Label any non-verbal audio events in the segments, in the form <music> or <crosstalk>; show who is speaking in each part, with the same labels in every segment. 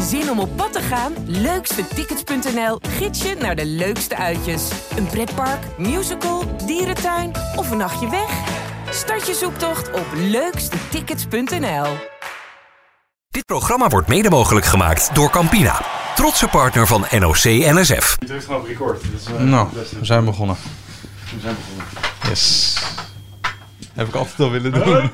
Speaker 1: Zin om op pad te gaan? Leukstetickets.nl gids je naar de leukste uitjes. Een pretpark, musical, dierentuin of een nachtje weg? Start je zoektocht op leukstetickets.nl.
Speaker 2: Dit programma wordt mede mogelijk gemaakt door Campina. Trotse partner van NOC NSF.
Speaker 3: Je drukt gewoon op record. Dat is, eh,
Speaker 4: Nou,
Speaker 3: het beste.
Speaker 4: we zijn begonnen.
Speaker 3: We zijn begonnen.
Speaker 4: Yes. Heb ik altijd al willen doen.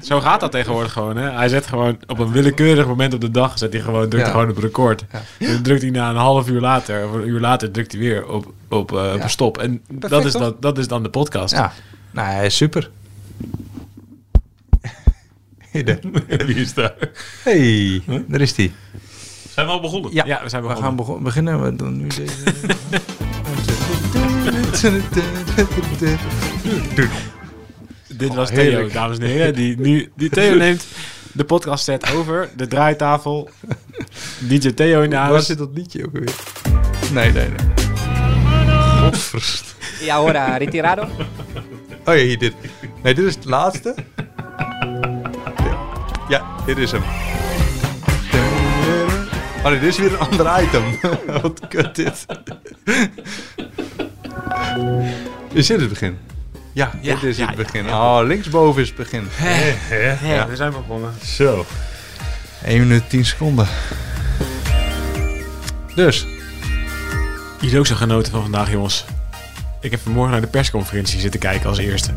Speaker 3: Zo gaat dat tegenwoordig gewoon. Hè? Hij zet gewoon op een willekeurig moment op de dag, zet hij gewoon, drukt
Speaker 4: Ja.
Speaker 3: gewoon op record.
Speaker 4: Ja.
Speaker 3: Dan drukt hij na een half uur later, of een uur later, drukt hij weer op, op, eh, op
Speaker 4: Ja.
Speaker 3: stop. En dat
Speaker 4: Perfect,
Speaker 3: is,
Speaker 4: toch?
Speaker 3: dat, dat is dan de podcast.
Speaker 4: Ja. Nou, hij is super. <laughs> Hey, <laughs> daar.
Speaker 3: Wie is daar?
Speaker 4: Hey, daar is hij.
Speaker 5: Zijn we al begonnen?
Speaker 4: Ja,
Speaker 3: Ja, we zijn
Speaker 4: we
Speaker 3: begonnen.
Speaker 4: gaan bego- beginnen. We doen nu <laughs> deze.
Speaker 3: Dit was Theo,
Speaker 4: Oh, heerlijk.
Speaker 3: dames en heren. Die, nu, die
Speaker 4: <laughs>
Speaker 3: Theo neemt de podcast set over, de draaitafel. DJ Theo in de
Speaker 4: Waar
Speaker 3: huis.
Speaker 4: zit dat liedje ook weer? Nee, nee, nee. Godverst.
Speaker 6: Y ahora, retirado.
Speaker 4: Oh ja, hier, dit. Nee, dit is het laatste. Ja. Ja, dit is hem. Oh nee, dit is weer een ander item. <laughs> Wat kut dit. Is dit het begin? Ja, dit is het begin. Oh, linksboven is het begin.
Speaker 3: Ja, we zijn begonnen.
Speaker 5: Zo.
Speaker 4: 1 minuut 10 seconden. Dus,
Speaker 3: Jullie ook zo genoten van vandaag, jongens. Ik heb vanmorgen naar de persconferentie zitten kijken als eerste.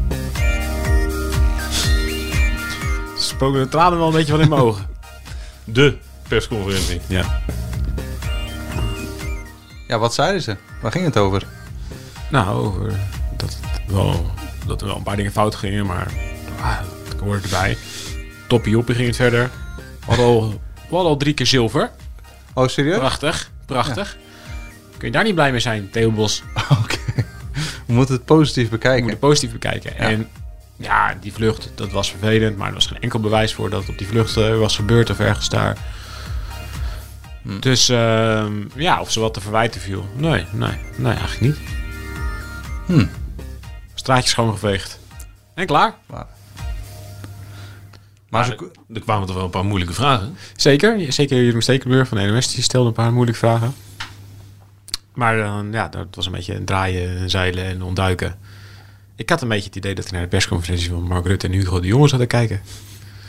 Speaker 3: Spoken de tranen wel een beetje van in mijn ogen.
Speaker 5: De persconferentie.
Speaker 3: Ja.
Speaker 4: ja, wat zeiden ze? Waar ging het over?
Speaker 3: <laughs> Nou, over dat, het wel, dat er wel een paar dingen fout gingen, maar ah, dat hoort erbij. Toppie hoppie ging het verder. We hadden al, we hadden al drie keer zilver.
Speaker 4: Oh, serieus?
Speaker 3: Prachtig, prachtig. Kun je daar niet blij mee zijn, Theo Bos?
Speaker 4: <laughs> Oké. We moeten het positief
Speaker 3: Je moet
Speaker 4: bekijken.
Speaker 3: het positief bekijken. En ja, die vlucht, dat was vervelend, maar er was geen enkel bewijs voor dat het op die vlucht eh, was gebeurd of ergens daar. Dus ehm, ja, of ze wat te verwijten viel. Nee, nee, nee, eigenlijk niet.
Speaker 4: Hmm.
Speaker 3: Straatje schoongeveegd. En klaar.
Speaker 4: Maar
Speaker 5: Maar
Speaker 4: ze,
Speaker 5: er, er kwamen toch wel een paar moeilijke vragen.
Speaker 3: Zeker, zeker Jeroen Stekelenburg van de NOS, die stelde een paar moeilijke vragen. Maar dan, ja, dat was een beetje een draaien, en zeilen en ontduiken. Ik had een beetje het idee dat ik naar de persconferentie van Mark Rutte en Hugo de Jonge zat te kijken.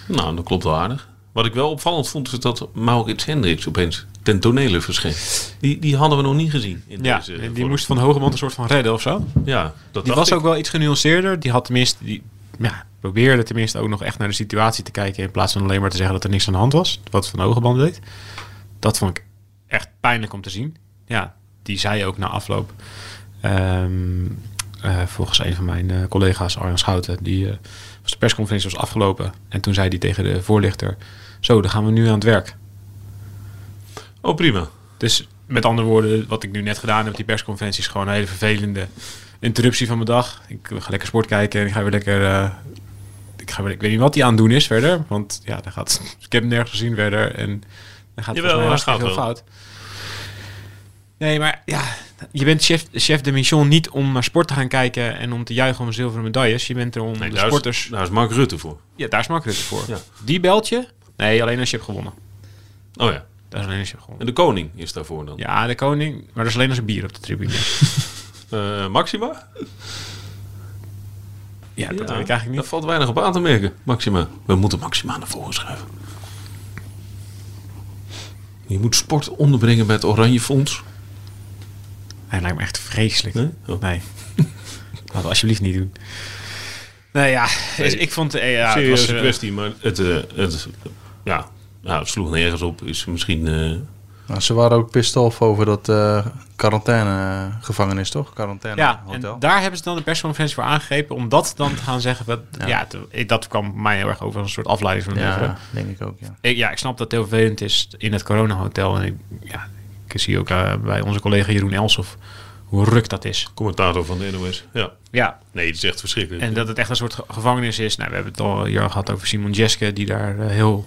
Speaker 5: Nou, dat klopt wel aardig. Wat ik wel opvallend vond, is dat Maurits Hendricks opeens ten tonele verscheen. Die, die hadden we nog niet gezien. In
Speaker 3: Ja,
Speaker 5: deze, eh,
Speaker 3: en die
Speaker 5: vorm.
Speaker 3: moest van Hogeman een soort van redden of zo.
Speaker 5: Ja, dat
Speaker 3: Dus, Die
Speaker 5: dacht
Speaker 3: was
Speaker 5: ik.
Speaker 3: ook wel iets genuanceerder. Die had tenminste, die ja, probeerde tenminste ook nog echt naar de situatie te kijken. In plaats van alleen maar te zeggen dat er niks aan de hand was. Wat Van Hogeband deed. Dat vond ik echt pijnlijk om te zien. Ja, die zei ook na afloop. ehm, eh, volgens een van mijn eh, collega's, Arjan Schouten. Die eh, was de persconferentie was afgelopen. En toen zei hij tegen de voorlichter. Zo, dan gaan we nu aan het werk.
Speaker 5: Oh, prima.
Speaker 3: Dus met andere woorden, wat ik nu net gedaan heb, die persconferentie is gewoon een hele vervelende interruptie van mijn dag. Ik ga lekker sport kijken en ik ga weer lekker. eh, ik, ga weer, ik weet niet wat die aan het doen is verder. Want ja, daar gaat, <laughs> ik heb hem nergens gezien verder. En dan gaat het
Speaker 5: Jawel,
Speaker 3: volgens mij
Speaker 5: hij
Speaker 3: hartstikke
Speaker 5: gaat
Speaker 3: veel
Speaker 5: wel.
Speaker 3: fout. Nee, maar ja, je bent chef, chef de mission niet om naar sport te gaan kijken en om te juichen om zilveren medailles. Je bent er om
Speaker 5: Nee,
Speaker 3: de
Speaker 5: daar,
Speaker 3: sporters.
Speaker 5: Is, daar is Mark Rutte voor.
Speaker 3: Ja, daar is Mark Rutte voor.
Speaker 5: Ja.
Speaker 3: Die belt je? Nee, alleen als je hebt gewonnen.
Speaker 5: Oh ja.
Speaker 3: Dat is alleen als je hebt gewonnen.
Speaker 5: En de koning is daarvoor dan.
Speaker 3: Ja, de koning, maar dat is alleen als er bier op de tribune is.
Speaker 5: Eh, Maxima?
Speaker 3: Ja, dat
Speaker 5: Ja,
Speaker 3: weet ik eigenlijk
Speaker 5: Daar
Speaker 3: niet.
Speaker 5: valt weinig op aan te merken. Maxima. We moeten Maxima naar voren schuiven. Je moet sport onderbrengen bij het Oranje Fonds.
Speaker 3: Hij lijkt me echt vreselijk.
Speaker 5: Nee?
Speaker 3: Nee?
Speaker 5: Oh.
Speaker 3: <laughs> Laat het alsjeblieft niet doen. Nee, ja. dus Ik vond... eh, Ja, het
Speaker 5: serieuze
Speaker 3: was, eh,
Speaker 5: kwestie, maar het, eh, het, ja, nou, het sloeg nergens op. Is misschien eh,
Speaker 4: nou, ze waren ook pissed off over dat eh quarantaine-gevangenis, toch?
Speaker 3: ja,
Speaker 4: Quarantaine-hotel.
Speaker 3: en daar hebben ze dan de persconferentie voor aangegrepen... om dat dan te gaan zeggen. Dat, ja, het- dat kwam mij heel erg over als een soort afleiding van
Speaker 4: ja,
Speaker 3: ja.
Speaker 4: denk ik ook, ja.
Speaker 3: Ik, ja, ik snap dat het heel vervelend is in het coronahotel. En ik, ja, ik zie ook eh, bij onze collega Jeroen Elsof hoe ruk dat is.
Speaker 5: commentator van de NOS. Ja.
Speaker 3: Ja,
Speaker 5: Nee, het is echt verschrikkelijk.
Speaker 3: En dat het echt een soort ge- gevangenis is. Nou, we hebben het al hier al gehad over Simon Jeske, die daar eh, heel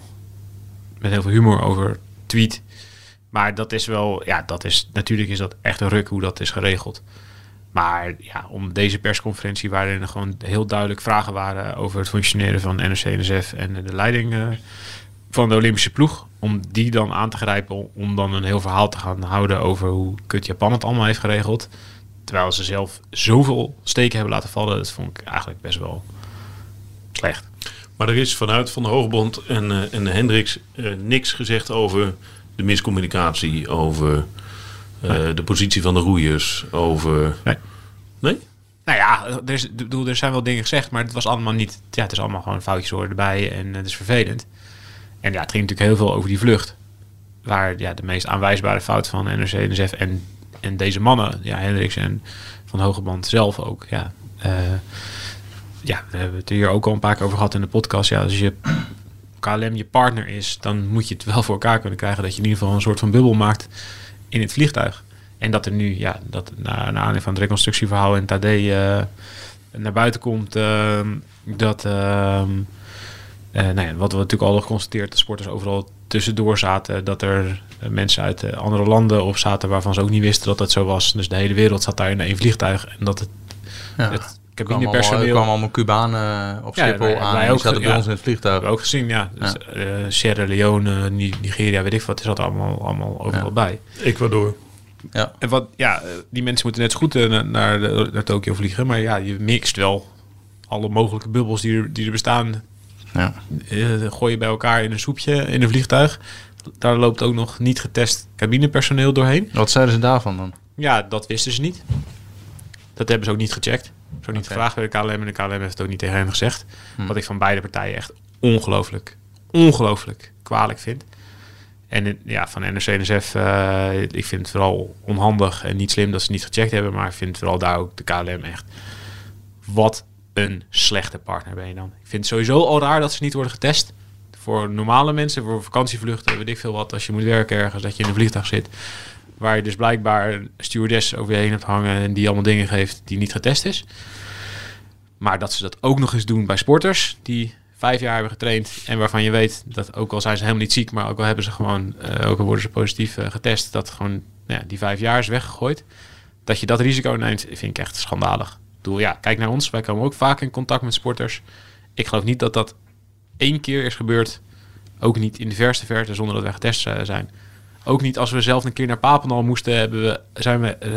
Speaker 3: met heel veel humor over tweet. Maar dat is wel, ja, dat is natuurlijk is dat echt een ruk hoe dat is geregeld. Maar ja, om deze persconferentie, waarin er gewoon heel duidelijk vragen waren over het functioneren van NRC-NSF en eh, de leiding eh, van de Olympische ploeg. Om die dan aan te grijpen. Om dan een heel verhaal te gaan houden over hoe kut Japan het allemaal heeft geregeld. Terwijl ze zelf zoveel steken hebben laten vallen. Dat vond ik eigenlijk best wel slecht.
Speaker 5: Maar er is vanuit Van de Hoogbond en, eh, en Hendricks eh, niks gezegd over de miscommunicatie, over eh, de positie van de roeiers, over...
Speaker 3: Nee.
Speaker 5: Nee?
Speaker 3: Nou ja, er, is, ik bedoel, er zijn wel dingen gezegd, maar het was allemaal niet. Ja, het is allemaal gewoon foutjes horen erbij en het is vervelend. En ja, het ging natuurlijk heel veel over die vlucht. Waar ja, de meest aanwijsbare fout van NRC, NSF en, en deze mannen, ja, Hendricks en Van Hogeband zelf ook. Ja, eh, ja, we hebben het hier ook al een paar keer over gehad in de podcast. Ja, als je KLM je partner is, dan moet je het wel voor elkaar kunnen krijgen dat je in ieder geval een soort van bubbel maakt in het vliegtuig. En dat er nu, ja, dat na, naar aanleiding van het reconstructieverhaal in Tadé eh, naar buiten komt ehm, dat, ehm, eh, nou ja, wat we natuurlijk al geconstateerd, de sporters overal tussendoor zaten, dat er eh, mensen uit eh, andere landen op zaten waarvan ze ook niet wisten dat dat zo was. Dus de hele wereld zat daar in één vliegtuig en dat het,
Speaker 4: Ja.
Speaker 3: het
Speaker 4: kwam allemaal,
Speaker 3: cabinepersoneel...
Speaker 4: kwamen allemaal Cubanen eh, op
Speaker 3: Ja,
Speaker 4: Schiphol
Speaker 3: wij-
Speaker 4: aan.
Speaker 3: wij
Speaker 4: die
Speaker 3: ook,
Speaker 4: zaten bij
Speaker 3: ja.
Speaker 4: ons in het vliegtuig.
Speaker 3: hebben we ook gezien, ja. Dus, eh, Sierra Leone, Ni- Nigeria, weet ik wat, is dat allemaal, allemaal overal bij.
Speaker 5: Ecuador.
Speaker 4: Ja.
Speaker 3: En wat, ja, eh, die mensen moeten net zo goed eh, na- naar, de- naar Tokio vliegen. Maar ja, je mixt wel alle mogelijke bubbels die er, die er bestaan.
Speaker 4: Ja.
Speaker 3: eh, gooi je bij elkaar in een soepje, in een vliegtuig. Daar loopt ook nog niet getest cabinepersoneel doorheen.
Speaker 4: Wat zeiden ze daarvan dan?
Speaker 3: Ja, dat wisten ze niet. Dat hebben ze ook niet gecheckt. Zo niet gevraagd bij de KLM. En de KLM heeft het ook niet tegen hen gezegd. Wat ik van beide partijen echt ongelooflijk, ongelooflijk kwalijk vind. En in- ja, van NRC en NSF, eh, ik vind het vooral onhandig en niet slim dat ze niet gecheckt hebben. Maar ik vind vooral daar ook de KLM echt... Wat een slechte partner ben je dan. Ik vind het sowieso al raar dat ze niet worden getest. Voor normale mensen, voor vakantievluchten, weet ik veel wat. Als je moet werken ergens, dat je in een vliegtuig zit. Waar je dus blijkbaar een stewardess over je heen hebt hangen... en die allemaal dingen geeft die niet getest is. Maar dat ze dat ook nog eens doen bij sporters die vijf jaar hebben getraind en waarvan je weet dat ook al zijn ze helemaal niet ziek, maar ook al hebben ze gewoon, eh, ook al worden ze positief eh, getest, dat gewoon nou ja, die vijf jaar is weggegooid. Dat je dat risico neemt, vind ik echt schandalig. Ik bedoel, ja, kijk naar ons. Wij komen ook vaak in contact met sporters. Ik geloof niet dat dat één keer is gebeurd. Ook niet in de verste verte zonder dat wij getest eh, zijn. Ook niet als we zelf een keer naar Papendal moesten, hebben we, zijn, we, eh,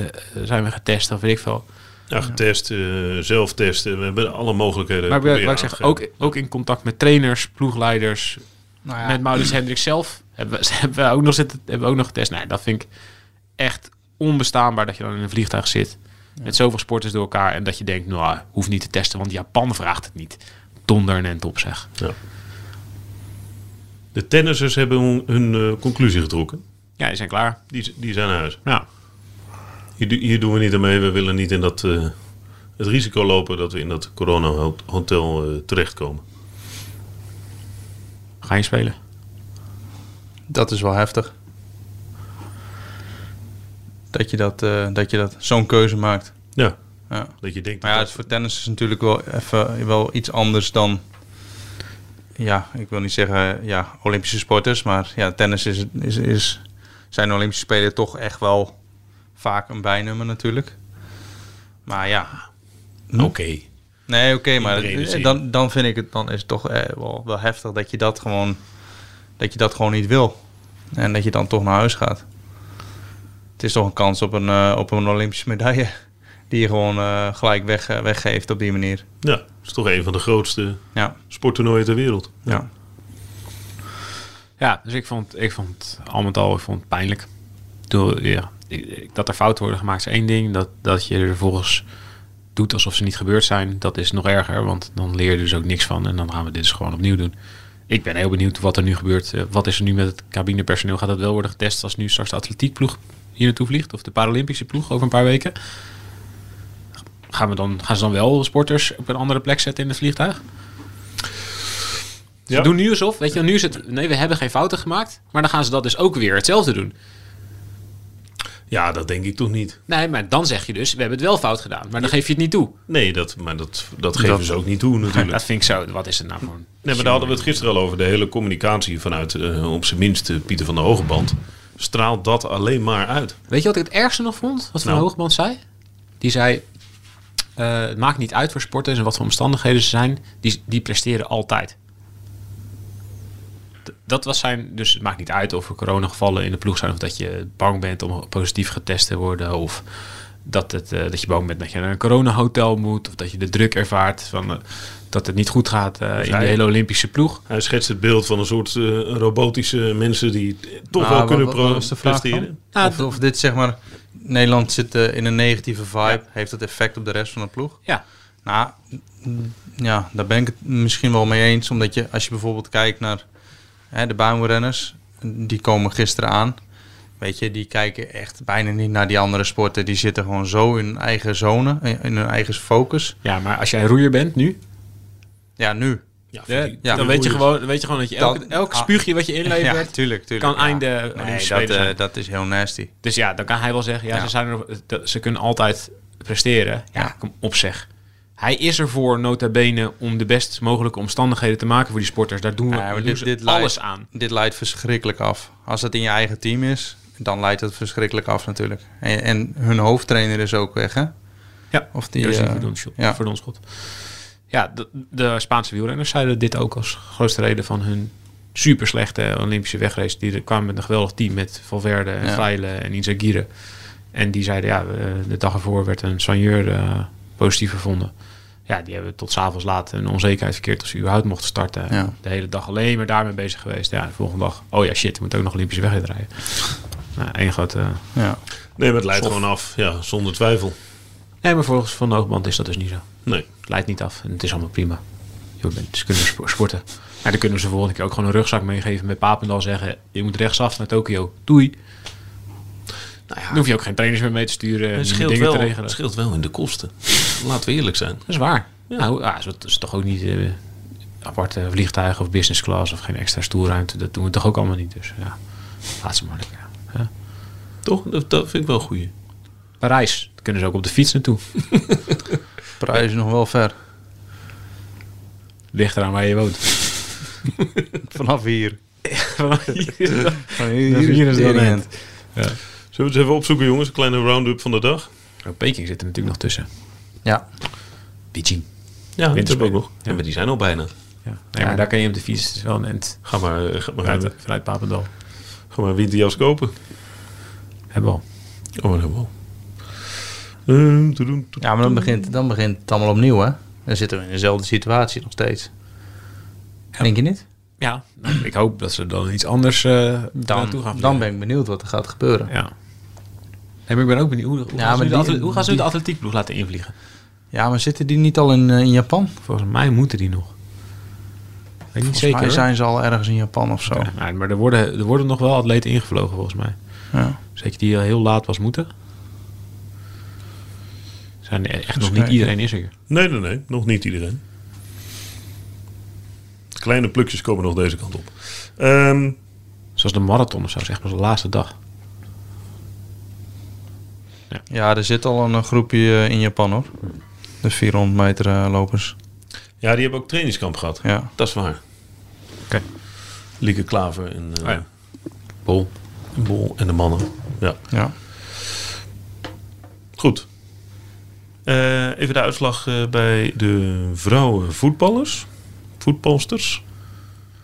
Speaker 3: zijn we getest of weet ik veel.
Speaker 5: Ja, getest, eh, zelf testen. We hebben alle mogelijkheden.
Speaker 3: Maar
Speaker 5: proberen
Speaker 3: wat ik
Speaker 5: aan
Speaker 3: zeg,
Speaker 5: te
Speaker 3: ook,
Speaker 5: geven.
Speaker 3: ook in contact met trainers, ploegleiders,
Speaker 4: Nou ja,
Speaker 3: met Maurits Hendricks zelf hebben we, <laughs> hebben we ook nog zitten, hebben we ook nog getest. Nee, dat vind ik echt onbestaanbaar dat je dan in een vliegtuig zit met zoveel sporters door elkaar en dat je denkt, nou, hoef niet te testen, want Japan vraagt het niet. Donder en top zeg.
Speaker 5: De tennissers hebben hun, hun, eh, conclusie getrokken.
Speaker 3: Ja, die zijn klaar.
Speaker 5: Die, die zijn naar huis.
Speaker 3: Ja.
Speaker 5: Hier, do- hier doen we niet aan mee. We willen niet in dat, eh, het risico lopen dat we in dat corona-hotel eh, terechtkomen.
Speaker 3: Ga je spelen?
Speaker 4: dat is wel heftig. Dat je, dat, eh, dat je dat zo'n keuze maakt.
Speaker 5: Ja,
Speaker 4: Ja.
Speaker 5: dat je denkt...
Speaker 4: Maar ja,
Speaker 5: dat-
Speaker 4: het is voor tennis is natuurlijk wel even wel iets anders dan. Ja, ik wil niet zeggen ja, Olympische sporters, maar ja, tennis is, is, is, zijn de Olympische Spelen toch echt wel vaak een bijnummer natuurlijk. Maar ja,
Speaker 5: Oké.
Speaker 4: nee, oké, maar
Speaker 5: brede
Speaker 4: het-
Speaker 5: zin.
Speaker 4: dan, dan vind ik het, dan is het toch eh, wel, wel heftig dat je dat gewoon, dat je dat gewoon niet wil. En dat je dan toch naar huis gaat. Het is toch een kans op een, eh, op een Olympische medaille die je gewoon eh, gelijk weg, eh, weggeeft op die manier.
Speaker 5: Ja, het is toch een van de grootste
Speaker 4: Ja,
Speaker 5: sporttoernooien ter wereld.
Speaker 4: ja.
Speaker 3: Ja, dus ik vond, ik vond al met al, ik vond het pijnlijk. Ik bedoel, ja, ik- ik- dat er fouten worden gemaakt is één ding. Dat, dat je er vervolgens doet alsof ze niet gebeurd zijn, dat is nog erger. Want dan leer je dus ook niks van en dan gaan we dit dus gewoon opnieuw doen. Ik ben heel benieuwd wat er nu gebeurt. Eh, Wat is er nu met het cabinepersoneel? Gaat dat wel worden getest als nu straks de atletiekploeg hier naartoe vliegt? Of de Paralympische ploeg over een paar weken? Gaan, we dan, gaan ze dan wel sporters op een andere plek zetten in het vliegtuig? Ze
Speaker 5: Ja.
Speaker 3: doen nu alsof, weet je, nu is het, nee, we hebben geen fouten gemaakt. Maar dan gaan ze dat dus ook weer hetzelfde doen.
Speaker 5: Ja, dat denk ik toch niet.
Speaker 3: Nee, maar dan zeg je dus, we hebben het wel fout gedaan. Maar dan geef je het niet toe.
Speaker 5: Nee, dat, maar dat, dat geven ze ook niet toe natuurlijk.
Speaker 3: <laughs> Dat vind ik zo, wat is het nou voor een...
Speaker 5: Nee, maar daar hadden we het gisteren al over. De hele communicatie vanuit, eh, op zijn minst, eh, Pieter van der Hogeband. Straalt dat alleen maar uit.
Speaker 3: Weet je wat ik het ergste nog vond? Wat Van
Speaker 5: Nou.
Speaker 3: Hoogband zei? Die zei, eh, het maakt niet uit voor sporters en wat voor omstandigheden ze zijn. Die, die presteren altijd. D- Dat was zijn, dus het maakt niet uit of er coronagevallen in de ploeg zijn of dat je bang bent om positief getest te worden of dat, het, eh, dat je bang bent dat je naar een coronahotel moet of dat je de druk ervaart van eh, dat het niet goed gaat eh, in de
Speaker 5: hij-
Speaker 3: hele Olympische ploeg.
Speaker 5: Hij schetst het beeld van een soort eh, robotische mensen die
Speaker 4: Maar
Speaker 5: toch wel
Speaker 4: Nou, wat-
Speaker 5: kunnen
Speaker 4: wat-
Speaker 5: pro-
Speaker 4: wat was de vraag dan?
Speaker 5: presteren.
Speaker 3: Nou,
Speaker 4: of, of dit zeg maar, Nederland zit eh, in een negatieve vibe. Heeft dat effect op de rest van de ploeg?
Speaker 3: Ja,
Speaker 4: Nou, mm, ja, daar ben ik het misschien wel mee eens. Omdat je, als je bijvoorbeeld kijkt naar hè, de baanrenners, die komen gisteren aan. Weet je, die kijken echt bijna niet naar die andere sporten. Die zitten gewoon zo in hun eigen zone, in- in hun eigen focus.
Speaker 3: ja, maar als jij een roeier bent nu,
Speaker 4: Ja, nu.
Speaker 5: Ja,
Speaker 3: hè,
Speaker 5: voor die-
Speaker 4: ja,
Speaker 5: die
Speaker 3: dan weet je,
Speaker 5: roeiers.
Speaker 3: gewoon, dan weet je gewoon dat je
Speaker 4: Dan-
Speaker 3: elk, elk
Speaker 4: ah.
Speaker 3: spuugje wat je inlevert,
Speaker 4: <laughs> Ja, tuurlijk, tuurlijk.
Speaker 3: kan
Speaker 4: ja.
Speaker 3: einde
Speaker 4: Nee,
Speaker 3: Olympische
Speaker 4: dat,
Speaker 3: Spelen zijn.
Speaker 4: eh, dat is heel nasty.
Speaker 3: Dus ja, dan kan hij wel zeggen, ja,
Speaker 4: Ja.
Speaker 3: Ze, zijn er, dat- ze kunnen altijd presteren. Ja,
Speaker 4: Ja.
Speaker 3: kom op zeg. Hij is ervoor, nota bene, om de best mogelijke omstandigheden te maken voor die sporters. Daar doen we,
Speaker 4: Ja, Ah, maar
Speaker 3: doen
Speaker 4: dit-
Speaker 3: ze
Speaker 4: dit leidt-
Speaker 3: alles aan.
Speaker 4: Dit leidt verschrikkelijk af. Als dat in je eigen team is, dan leidt het verschrikkelijk af natuurlijk. En, en hun hoofdtrainer is ook weg, hè?
Speaker 3: Ja,
Speaker 4: Of die,
Speaker 3: Jurgen
Speaker 4: eh,
Speaker 3: Verdonschot-
Speaker 4: ja.
Speaker 3: Verdonschot. Ja, de, de Spaanse wielrenners zeiden dit ook als grootste reden van hun super slechte Olympische wegrace. Die er kwamen met een geweldig team met Valverde en
Speaker 4: Ja.
Speaker 3: Fraile en Izagirre. En die zeiden, ja, eh, de dag ervoor werd een soigneur eh, positief gevonden. Ja, die hebben tot s'avonds laat een onzekerheid verkeerd of ze überhaupt mochten starten.
Speaker 4: Ja.
Speaker 3: De hele dag alleen maar daarmee bezig geweest. Ja, de volgende dag, oh ja, shit, we moeten ook nog Olympische wegrijd rijden. Nou, één grote...
Speaker 4: Ja.
Speaker 5: Nee, maar het leidt gewoon af. Ja, zonder twijfel.
Speaker 3: Nee, maar volgens Van de Hoogband is dat dus niet zo.
Speaker 5: Nee.
Speaker 3: Het leidt niet af en het is allemaal prima. Joh, ze kunnen spo- sporten. Maar dan kunnen ze volgende keer ook gewoon een rugzak meegeven met Papendal zeggen... je moet rechtsaf naar Tokio. Doei. dan hoef je ook geen trainers meer mee te sturen en
Speaker 5: Nou Het scheelt,
Speaker 3: dingen
Speaker 5: wel,
Speaker 3: te regelen.
Speaker 5: het scheelt wel in de kosten. Laten we eerlijk zijn.
Speaker 3: Dat is waar. Nou, ja, is, het- is toch ook niet eh, aparte vliegtuigen of business class of geen extra stoelruimte. Dat doen we toch ook allemaal niet. Dus ja, laat ze maar lekker. Ja.
Speaker 5: Toch? Dat, dat vind ik wel goed.
Speaker 3: Parijs, daar kunnen ze ook op de fiets naartoe.
Speaker 4: Parijs is nog wel ver.
Speaker 3: Ligt eraan waar je
Speaker 5: <laughs>
Speaker 3: woont. <laughs> Oh,
Speaker 4: Vanaf <laughs> hier. Van
Speaker 3: Dat is hier is het wel
Speaker 4: Tering.
Speaker 3: net.
Speaker 5: Zullen we het eens even opzoeken, jongens? Een kleine round-up van de dag.
Speaker 3: Nou, Peking zit er natuurlijk nog tussen.
Speaker 4: Ja.
Speaker 3: Beijing.
Speaker 5: Ja, dat hebben we
Speaker 3: Winterspelen.
Speaker 5: ook nog. Ja, maar die zijn al bijna.
Speaker 3: Ja. Nee, maar daar kan je op de fiets. Het is wel een end.
Speaker 5: Ga maar, eh, ga maar,
Speaker 3: Vanuit,
Speaker 5: eh,
Speaker 3: vanuit Papendal.
Speaker 5: ga maar een winterjas kopen.
Speaker 3: Hebben we al.
Speaker 5: Oh, dat wel. Eh, toedoen, toedoen.
Speaker 4: Ja, maar dan begint, dan begint het allemaal opnieuw, hè? Dan zitten we in dezelfde situatie nog steeds. Denk je niet?
Speaker 3: Ja. Nou, Ik hoop dat ze dan iets anders eh naartoe gaan.
Speaker 4: Dan, dan ben ik benieuwd wat er gaat gebeuren.
Speaker 3: Ja. Nee, maar ik ben ook benieuwd. Hoe, hoe
Speaker 4: Ja,
Speaker 3: gaan, ze
Speaker 4: maar
Speaker 3: nu de
Speaker 4: die-
Speaker 3: atle- hoe gaan ze nu de
Speaker 4: die-
Speaker 3: atletiekploeg laten invliegen?
Speaker 4: Ja, maar zitten die niet al in, eh, in Japan?
Speaker 3: Volgens mij moeten die nog. Weet ik niet
Speaker 4: Volgens mij
Speaker 3: zeker. hoor.
Speaker 4: zijn ze al ergens in Japan of zo.
Speaker 3: Ja, nou, maar er worden, er worden nog wel atleten ingevlogen volgens mij.
Speaker 4: Ja.
Speaker 3: Zeker die heel laat was moeten. Zijn er echt nog niet
Speaker 4: kijken.
Speaker 3: iedereen is er.
Speaker 5: Nee, nee, nee. Nog niet iedereen. Kleine plukjes komen nog deze kant op. Ehm,
Speaker 3: Zoals de marathon of zo, zeg maar, de laatste dag.
Speaker 4: Ja, er zit al een eh, groepje eh, in Japan hoor. De 400 meter eh, lopers.
Speaker 5: ja, die hebben ook trainingskamp gehad.
Speaker 4: Ja.
Speaker 5: Dat is waar.
Speaker 3: Oké.
Speaker 5: Lieke Klaver en, eh,
Speaker 3: Oh ja. Bol.
Speaker 5: en Bol en de mannen. Ja.
Speaker 4: ja.
Speaker 5: Goed. Eh, even de uitslag eh, bij de vrouwen voetballers. Voetbalsters.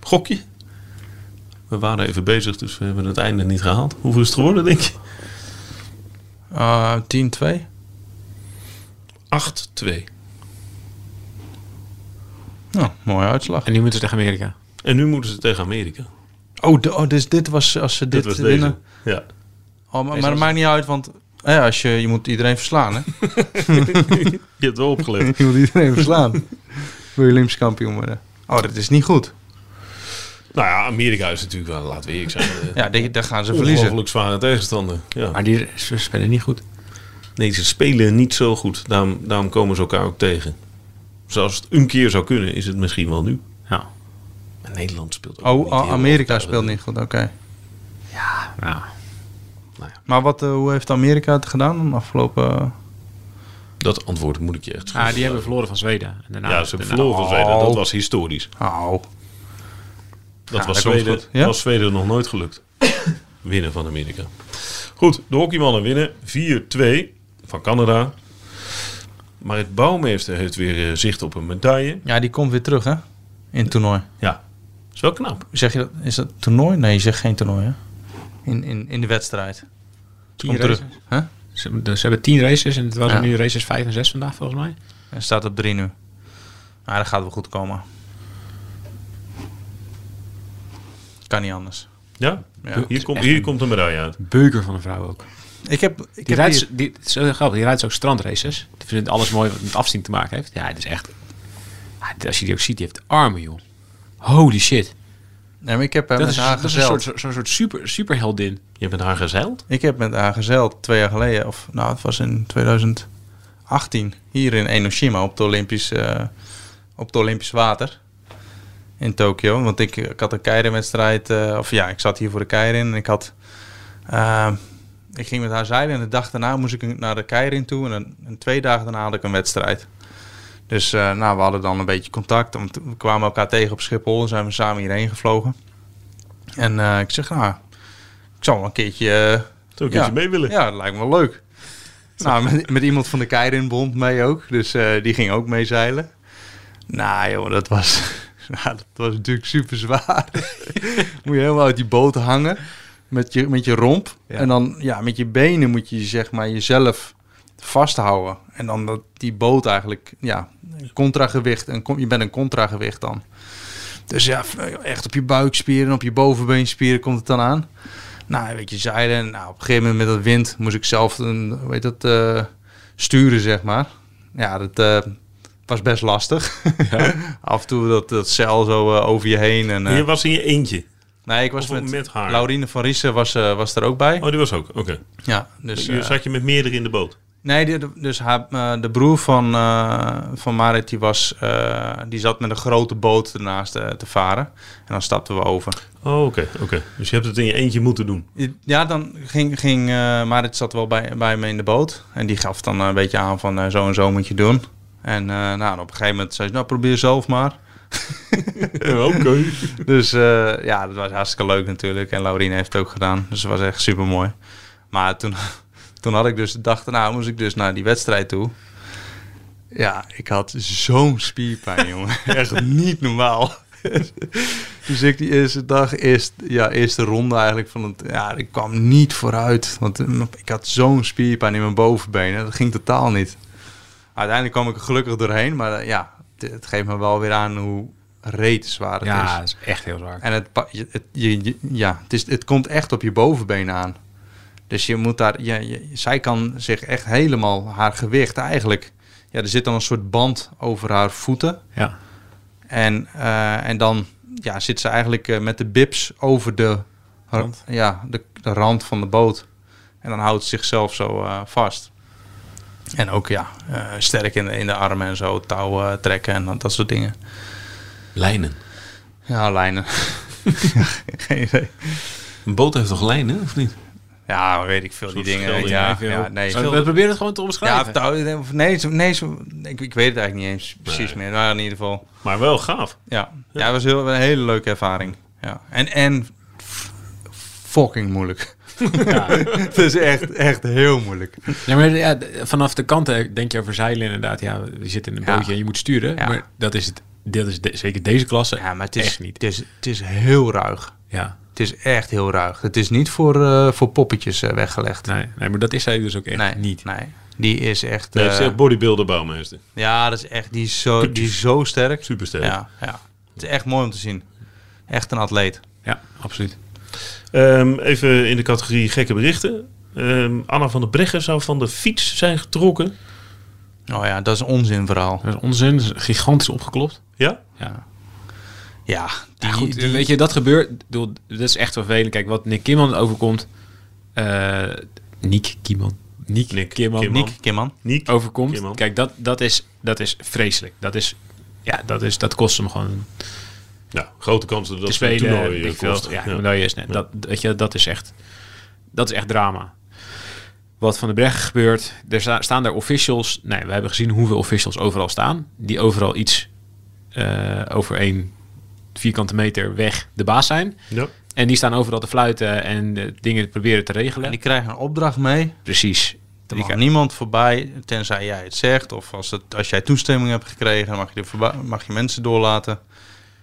Speaker 5: Gokje. We waren even bezig, dus we hebben het einde niet gehaald. Hoeveel is het geworden, denk je?
Speaker 4: Eh, 10-2?
Speaker 5: 8-2.
Speaker 4: Nou, mooie uitslag.
Speaker 3: En nu moeten ze tegen Amerika.
Speaker 5: En nu moeten ze tegen Amerika.
Speaker 4: Oh, de- oh, dus dit was als ze dit,
Speaker 5: Dit was
Speaker 4: winnen.
Speaker 5: deze. Ja.
Speaker 4: Oh, maar, maar dat maakt niet uit, want eh, ja, als je, je moet iedereen verslaan, hè?
Speaker 5: Je hebt wel opgelet.
Speaker 4: <laughs>
Speaker 5: <laughs>
Speaker 4: je moet iedereen verslaan. <laughs> Wil je Olympisch kampioen worden? Oh, dat is niet goed.
Speaker 5: nou ja, Amerika is natuurlijk wel, laten we eerlijk zijn, eh,
Speaker 4: Ja, die- daar gaan ze verliezen.
Speaker 5: ongelooflijk zware tegenstander. Ja.
Speaker 3: Maar die ze spelen niet goed.
Speaker 5: Nee, ze spelen niet zo goed. Daarom, daarom komen ze elkaar ook tegen. Zoals het een keer zou kunnen, is het misschien wel nu.
Speaker 3: Ja.
Speaker 5: Maar Nederland speelt ook
Speaker 4: Oh,
Speaker 5: niet
Speaker 4: oh,
Speaker 5: heel
Speaker 4: Amerika
Speaker 5: overtuigend.
Speaker 4: speelt niet goed, oké.
Speaker 3: Nou,
Speaker 4: Maar wat, eh, hoe heeft Amerika het gedaan de afgelopen... oh.
Speaker 5: Dat antwoord moet ik je echt
Speaker 3: ah,
Speaker 5: schuldig
Speaker 3: die hebben verloren van Zweden. En daarna,
Speaker 5: blijven. Ja, ze hebben
Speaker 3: daarna-
Speaker 5: verloren van Zweden.
Speaker 4: Oh.
Speaker 5: Dat was historisch.
Speaker 4: Oh,
Speaker 5: Dat
Speaker 4: Ja,
Speaker 5: was,
Speaker 4: dat komt
Speaker 5: Zweden,
Speaker 4: goed. Ja?
Speaker 5: was Zweden nog nooit
Speaker 4: <coughs>
Speaker 5: gelukt. winnen van Amerika. Goed, de hockeymannen winnen 4-2 van Canada. Maar het bouwmeester heeft weer eh, zicht op een medaille.
Speaker 4: ja, die komt weer terug, hè? In het toernooi.
Speaker 5: Ja. is wel knap.
Speaker 4: Zeg je dat, is dat toernooi? Nee, je zegt geen toernooi, hè? In, in, in de wedstrijd.
Speaker 3: Tien
Speaker 4: Kom terug.
Speaker 3: races.
Speaker 4: Huh?
Speaker 3: Ze, dus ze hebben tien races en het waren
Speaker 4: Ja.
Speaker 3: nu races 5 en 6 vandaag volgens mij.
Speaker 4: En staat op drie nu. Ah, dat gaat wel goed komen. Kan niet anders.
Speaker 5: Ja,
Speaker 4: Ja.
Speaker 5: hier, komt hier komt een medaille uit.
Speaker 3: Beuker van een vrouw ook.
Speaker 4: Ik heb, ik
Speaker 3: Die
Speaker 4: heb
Speaker 3: rijdt,
Speaker 4: hier-
Speaker 3: z- die, het is zo grappig, die rijdt ook strandraces. Die vindt alles mooi wat met afzien te maken heeft. Ja, het is echt... Ja, dit- Als je die ook ziet, die heeft armen, joh. Holy shit.
Speaker 4: Nee, maar ik heb hem
Speaker 3: Dat
Speaker 4: met
Speaker 3: is,
Speaker 4: haar
Speaker 3: dat is een
Speaker 4: gezeld.
Speaker 3: soort, zo- zo'n soort super, superheldin.
Speaker 5: Je hebt met haar gezeild?
Speaker 4: Ik heb met haar gezeild twee jaar geleden, of nou, het was in 2018, hier in Enoshima op het Olympisch, eh, op het Olympisch water in Tokio. Want ik, ik had een keirinwedstrijd, eh, of ja, ik zat hier voor de keirin en ik had, eh, ik ging met haar zeilen en de dag daarna moest ik naar de keirin toe en, een, en twee dagen daarna had ik een wedstrijd. Dus eh, nou, we hadden dan een beetje contact. want We kwamen elkaar tegen op Schiphol en zijn we samen hierheen gevlogen. En eh, ik zeg, nou, ik zal wel een keertje eh,
Speaker 5: Zou ik eens mee willen?
Speaker 4: ja, dat lijkt me wel leuk. Nou, met, met iemand van de Keirinbond mee ook. Dus eh, die ging ook mee zeilen. Nou joh, dat was, <laughs> nou, dat was natuurlijk super zwaar. <laughs> moet je helemaal uit die boot hangen met je, met je romp. En dan ja, met je benen moet je zeg maar jezelf vasthouden. En dan dat die boot eigenlijk, ja, een contragewicht. Een, con- je bent een contragewicht dan. Dus ja, echt op je buikspieren, op je bovenbeenspieren komt het dan aan. Nou, weet je, zeilen. en, Nou, op een gegeven moment met dat wind moest ik zelf een, hoe heet dat, eh, sturen, zeg maar. Ja, dat eh, was best lastig. <laughs> Af en toe dat, dat zeil zo eh, over je heen. En, eh,
Speaker 5: Je was in je eentje.
Speaker 4: nee, ik was
Speaker 5: of
Speaker 4: met,
Speaker 5: met haar?
Speaker 4: Laurine van Riesen was, eh, was er ook bij.
Speaker 5: Oh, die was ook. Oké.
Speaker 4: Ja, dus...
Speaker 5: Je-
Speaker 4: eh,
Speaker 5: zat je met meerdere in de boot?
Speaker 4: Nee, die- de, dus haar, eh, de broer van, eh, van Marit, die, was, eh, die zat met een grote boot ernaast eh, te varen. En dan stapten we over.
Speaker 5: Oh, oké. oké. Dus je hebt het in je eentje
Speaker 4: <laughs>
Speaker 5: moeten doen.
Speaker 4: Ja, dan ging, ging eh, Marit zat wel bij, bij me in de boot. En die gaf dan een beetje aan van eh, zo en zo moet je doen. En eh, nou, op een gegeven moment zei ze, nou probeer zelf maar.
Speaker 5: Ja, oké.
Speaker 4: Dus eh, ja, dat was hartstikke leuk natuurlijk. En Laurine heeft het ook gedaan. Dus het was echt super mooi. Maar toen, <laughs> toen had ik dus de dag daarna moest ik dus naar die wedstrijd toe. Ja, ik had zo'n spierpijn, jongen. Echt niet normaal. <laughs> dus ik die eerste dag, eerst, ja, eerste ronde eigenlijk van het, ja, ik kwam niet vooruit. Want mm, ik had zo'n spierpijn in mijn bovenbenen. Dat ging totaal niet. Uiteindelijk kwam ik er gelukkig doorheen. Maar eh, ja, het, het geeft me wel weer aan hoe reet zwaar het is.
Speaker 3: Ja, dat is echt heel zwaar.
Speaker 4: En het, pa- je- het, je, je- ja, het, is, het komt echt op je bovenbeen aan. Dus je moet daar, ja, je- zij kan zich echt helemaal haar gewicht eigenlijk. Ja, er zit dan een soort band over haar voeten.
Speaker 3: Ja.
Speaker 4: En, eh, en dan ja, zit ze eigenlijk eh, met de bips over de rand, ja, de, de rand van de boot. En dan houdt ze zichzelf zo eh, vast. En ook ja, eh, sterk in, de- in de armen en zo, touw eh, trekken en dat, dat soort dingen.
Speaker 5: Lijnen.
Speaker 4: Ja, <laughs> lijnen. Geen idee.
Speaker 6: Een boot heeft toch lijnen, of niet?
Speaker 4: Ja, weet ik veel, die
Speaker 5: soort
Speaker 4: dingen.
Speaker 5: vergelding,
Speaker 4: Ja,
Speaker 5: hè, veel.
Speaker 4: ja, nee.
Speaker 3: Zo, we proberen het gewoon te
Speaker 4: Ja,
Speaker 3: omschrijven.
Speaker 4: of touw- of nee, zo- nee zo, ik, ik weet het eigenlijk niet eens precies meer. Maar in ieder geval,
Speaker 5: Maar wel gaaf.
Speaker 4: ja. Ja, het was heel, een hele leuke ervaring. Ja. En, en f- fucking <laughs> moeilijk. het is echt, echt heel moeilijk.
Speaker 3: Ja, maar ja, d- vanaf de kanten denk je over zeilen inderdaad. Ja, je zit in een
Speaker 4: Ja.
Speaker 3: bootje en je moet sturen.
Speaker 4: Ja.
Speaker 3: Maar dat is het. Dit is de- zeker deze klasse.
Speaker 4: Ja, maar het is,
Speaker 3: echt niet.
Speaker 4: Het is, het is heel ruig.
Speaker 3: Ja.
Speaker 4: Het is echt heel ruig. Het is niet voor, eh, voor poppetjes eh, weggelegd.
Speaker 3: Nee, nee, maar dat is hij dus ook echt
Speaker 4: nee,
Speaker 3: niet.
Speaker 4: Nee. Die is echt...
Speaker 5: Hij
Speaker 4: eh,
Speaker 5: heeft echt bodybuilder bouwmeester.
Speaker 4: ja, dat is echt... Die is zo, die is zo sterk.
Speaker 5: Supersterk.
Speaker 4: Ja, ja. Het is echt mooi om te zien. Echt een atleet.
Speaker 3: Ja, absoluut.
Speaker 5: Ehm, even in de categorie gekke berichten. Ehm, Anna van der Breggen zou van de fiets zijn getrokken.
Speaker 4: Oh ja, dat is een onzinverhaal.
Speaker 3: Dat is onzin. Dat is gigantisch opgeklopt.
Speaker 5: Ja?
Speaker 3: Ja.
Speaker 4: Ja, die,
Speaker 3: Ja, goed,
Speaker 4: die-
Speaker 3: weet je, dat gebeurt. ik bedoel, Dat is echt vervelend. Kijk, wat Nick Kimman overkomt. eh Nick Kimman. Nick,
Speaker 5: Nick
Speaker 3: Kimman.
Speaker 5: Kimman.
Speaker 3: Nick
Speaker 4: Kimman.
Speaker 5: Niek.
Speaker 3: overkomt.
Speaker 5: Kimman.
Speaker 3: Kijk, dat, dat, is, dat is vreselijk. Dat is... Ja, dat, is, dat kost hem gewoon
Speaker 5: Nou, grote kans dat
Speaker 3: te
Speaker 5: dat een
Speaker 3: spelen.
Speaker 5: toernooi
Speaker 3: weet
Speaker 5: eh,
Speaker 3: ik veel.
Speaker 5: kost.
Speaker 3: Ja,
Speaker 5: Ja.
Speaker 3: een medaille is net. Dat, weet je, dat is echt... Dat is echt drama. Wat van de Breggen gebeurt. Er sta- staan daar officials. Nee, we hebben gezien hoeveel officials overal staan. Die overal iets eh, over één vierkante meter weg de baas zijn.
Speaker 5: Ja.
Speaker 3: En die staan overal te fluiten en eh, dingen proberen te regelen.
Speaker 4: En die krijgen een opdracht mee.
Speaker 3: Precies.
Speaker 4: Er
Speaker 3: Die
Speaker 4: mag
Speaker 3: ki-
Speaker 4: niemand voorbij, tenzij jij het zegt. Of als, het, als jij toestemming hebt gekregen, dan mag je, er voorbij, mag je mensen doorlaten.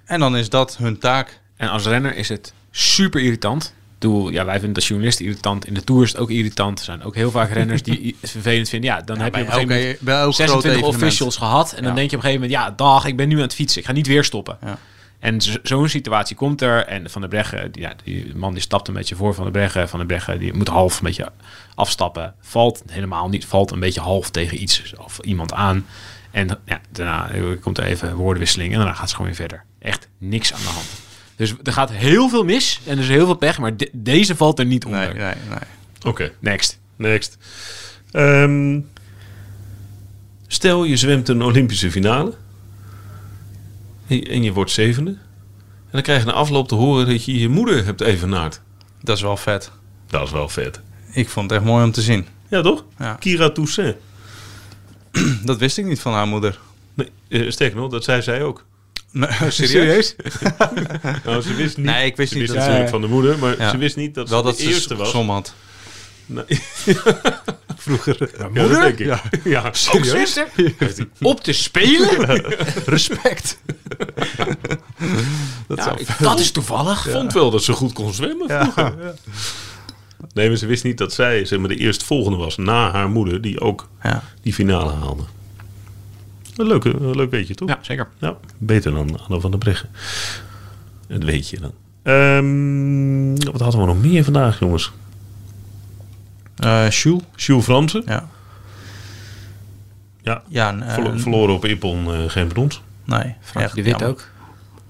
Speaker 4: En dan is dat hun taak.
Speaker 3: En als renner is het super irritant. Ik bedoel, ja, wij vinden dat journalisten irritant. In de Tour is het ook irritant. Er zijn ook heel vaak renners
Speaker 4: <laughs>
Speaker 3: die i- het vervelend vinden. Ja, dan heb je op een gegeven moment
Speaker 4: Oké, wel een groot
Speaker 3: 26
Speaker 4: evenement.
Speaker 3: officials gehad. En dan
Speaker 4: Ja.
Speaker 3: denk je op een gegeven moment, ja, dag, ik ben nu aan het fietsen. Ik ga niet weer stoppen.
Speaker 4: Ja.
Speaker 3: En zo- zo'n situatie komt er. En Van der Breggen, die, ja, die man die stapt een beetje voor Van der Breggen. Van der Breggen, die moet half een beetje afstappen. Valt helemaal niet, valt een beetje half tegen iets of iemand aan. En ja, daarna eh, komt er even woordenwisseling en daarna gaat ze gewoon weer verder. Echt niks aan de hand. Dus er gaat heel veel mis en er is heel veel pech, maar de- deze valt er niet onder.
Speaker 4: Nee, nee, nee.
Speaker 5: Oké,
Speaker 3: Next.
Speaker 5: next. Ehm, stel, je zwemt een Olympische finale. En je- En je wordt zevende. En dan krijg je na afloop te horen dat je je moeder hebt evenaard.
Speaker 4: Dat is wel vet.
Speaker 5: Dat is wel vet.
Speaker 4: Ik vond het echt mooi om te zien.
Speaker 5: Ja, toch?
Speaker 4: Ja.
Speaker 5: Kira Toussaint.
Speaker 4: Dat wist ik niet van haar moeder.
Speaker 5: Nee, eh, sterker nog, dat zei zij ook.
Speaker 4: Nee, <laughs> serieus?
Speaker 5: Nou, ze wist niet.
Speaker 4: Nee, ik wist
Speaker 5: ze
Speaker 4: niet
Speaker 5: wist
Speaker 4: dat
Speaker 5: natuurlijk van de moeder, maar
Speaker 4: Ja.
Speaker 5: ze wist niet dat ze
Speaker 4: Wel dat
Speaker 5: de
Speaker 4: ze
Speaker 5: eerste
Speaker 4: som
Speaker 5: was.
Speaker 4: som had.
Speaker 5: Vroeger. Ja,
Speaker 3: moeder?
Speaker 5: dat denk ik. Ja.
Speaker 3: Ook zuster? Op te spelen? <laughs>
Speaker 4: Respect.
Speaker 3: Dat, dat is toevallig.
Speaker 5: Ik vond wel dat ze goed kon zwemmen vroeger. Ja. Nee, maar ze wist niet dat zij zeg maar, de eerstvolgende was na haar moeder, die ook
Speaker 4: Ja.
Speaker 5: die finale haalde. Een, leuke, een leuk weetje, toch?
Speaker 3: Ja, zeker.
Speaker 5: Ja, beter dan Anno van der Breggen. Het weet je dan. Ehm, wat hadden we nog meer vandaag, jongens?
Speaker 4: Eh Jules?
Speaker 5: Jules Fransen.
Speaker 4: Ja.
Speaker 5: Ja,
Speaker 4: Ja, en, eh,
Speaker 5: verlo- verloren op Ippon, eh, geen brons.
Speaker 4: Nee, echt
Speaker 3: de Wit
Speaker 4: jammer.
Speaker 3: ook.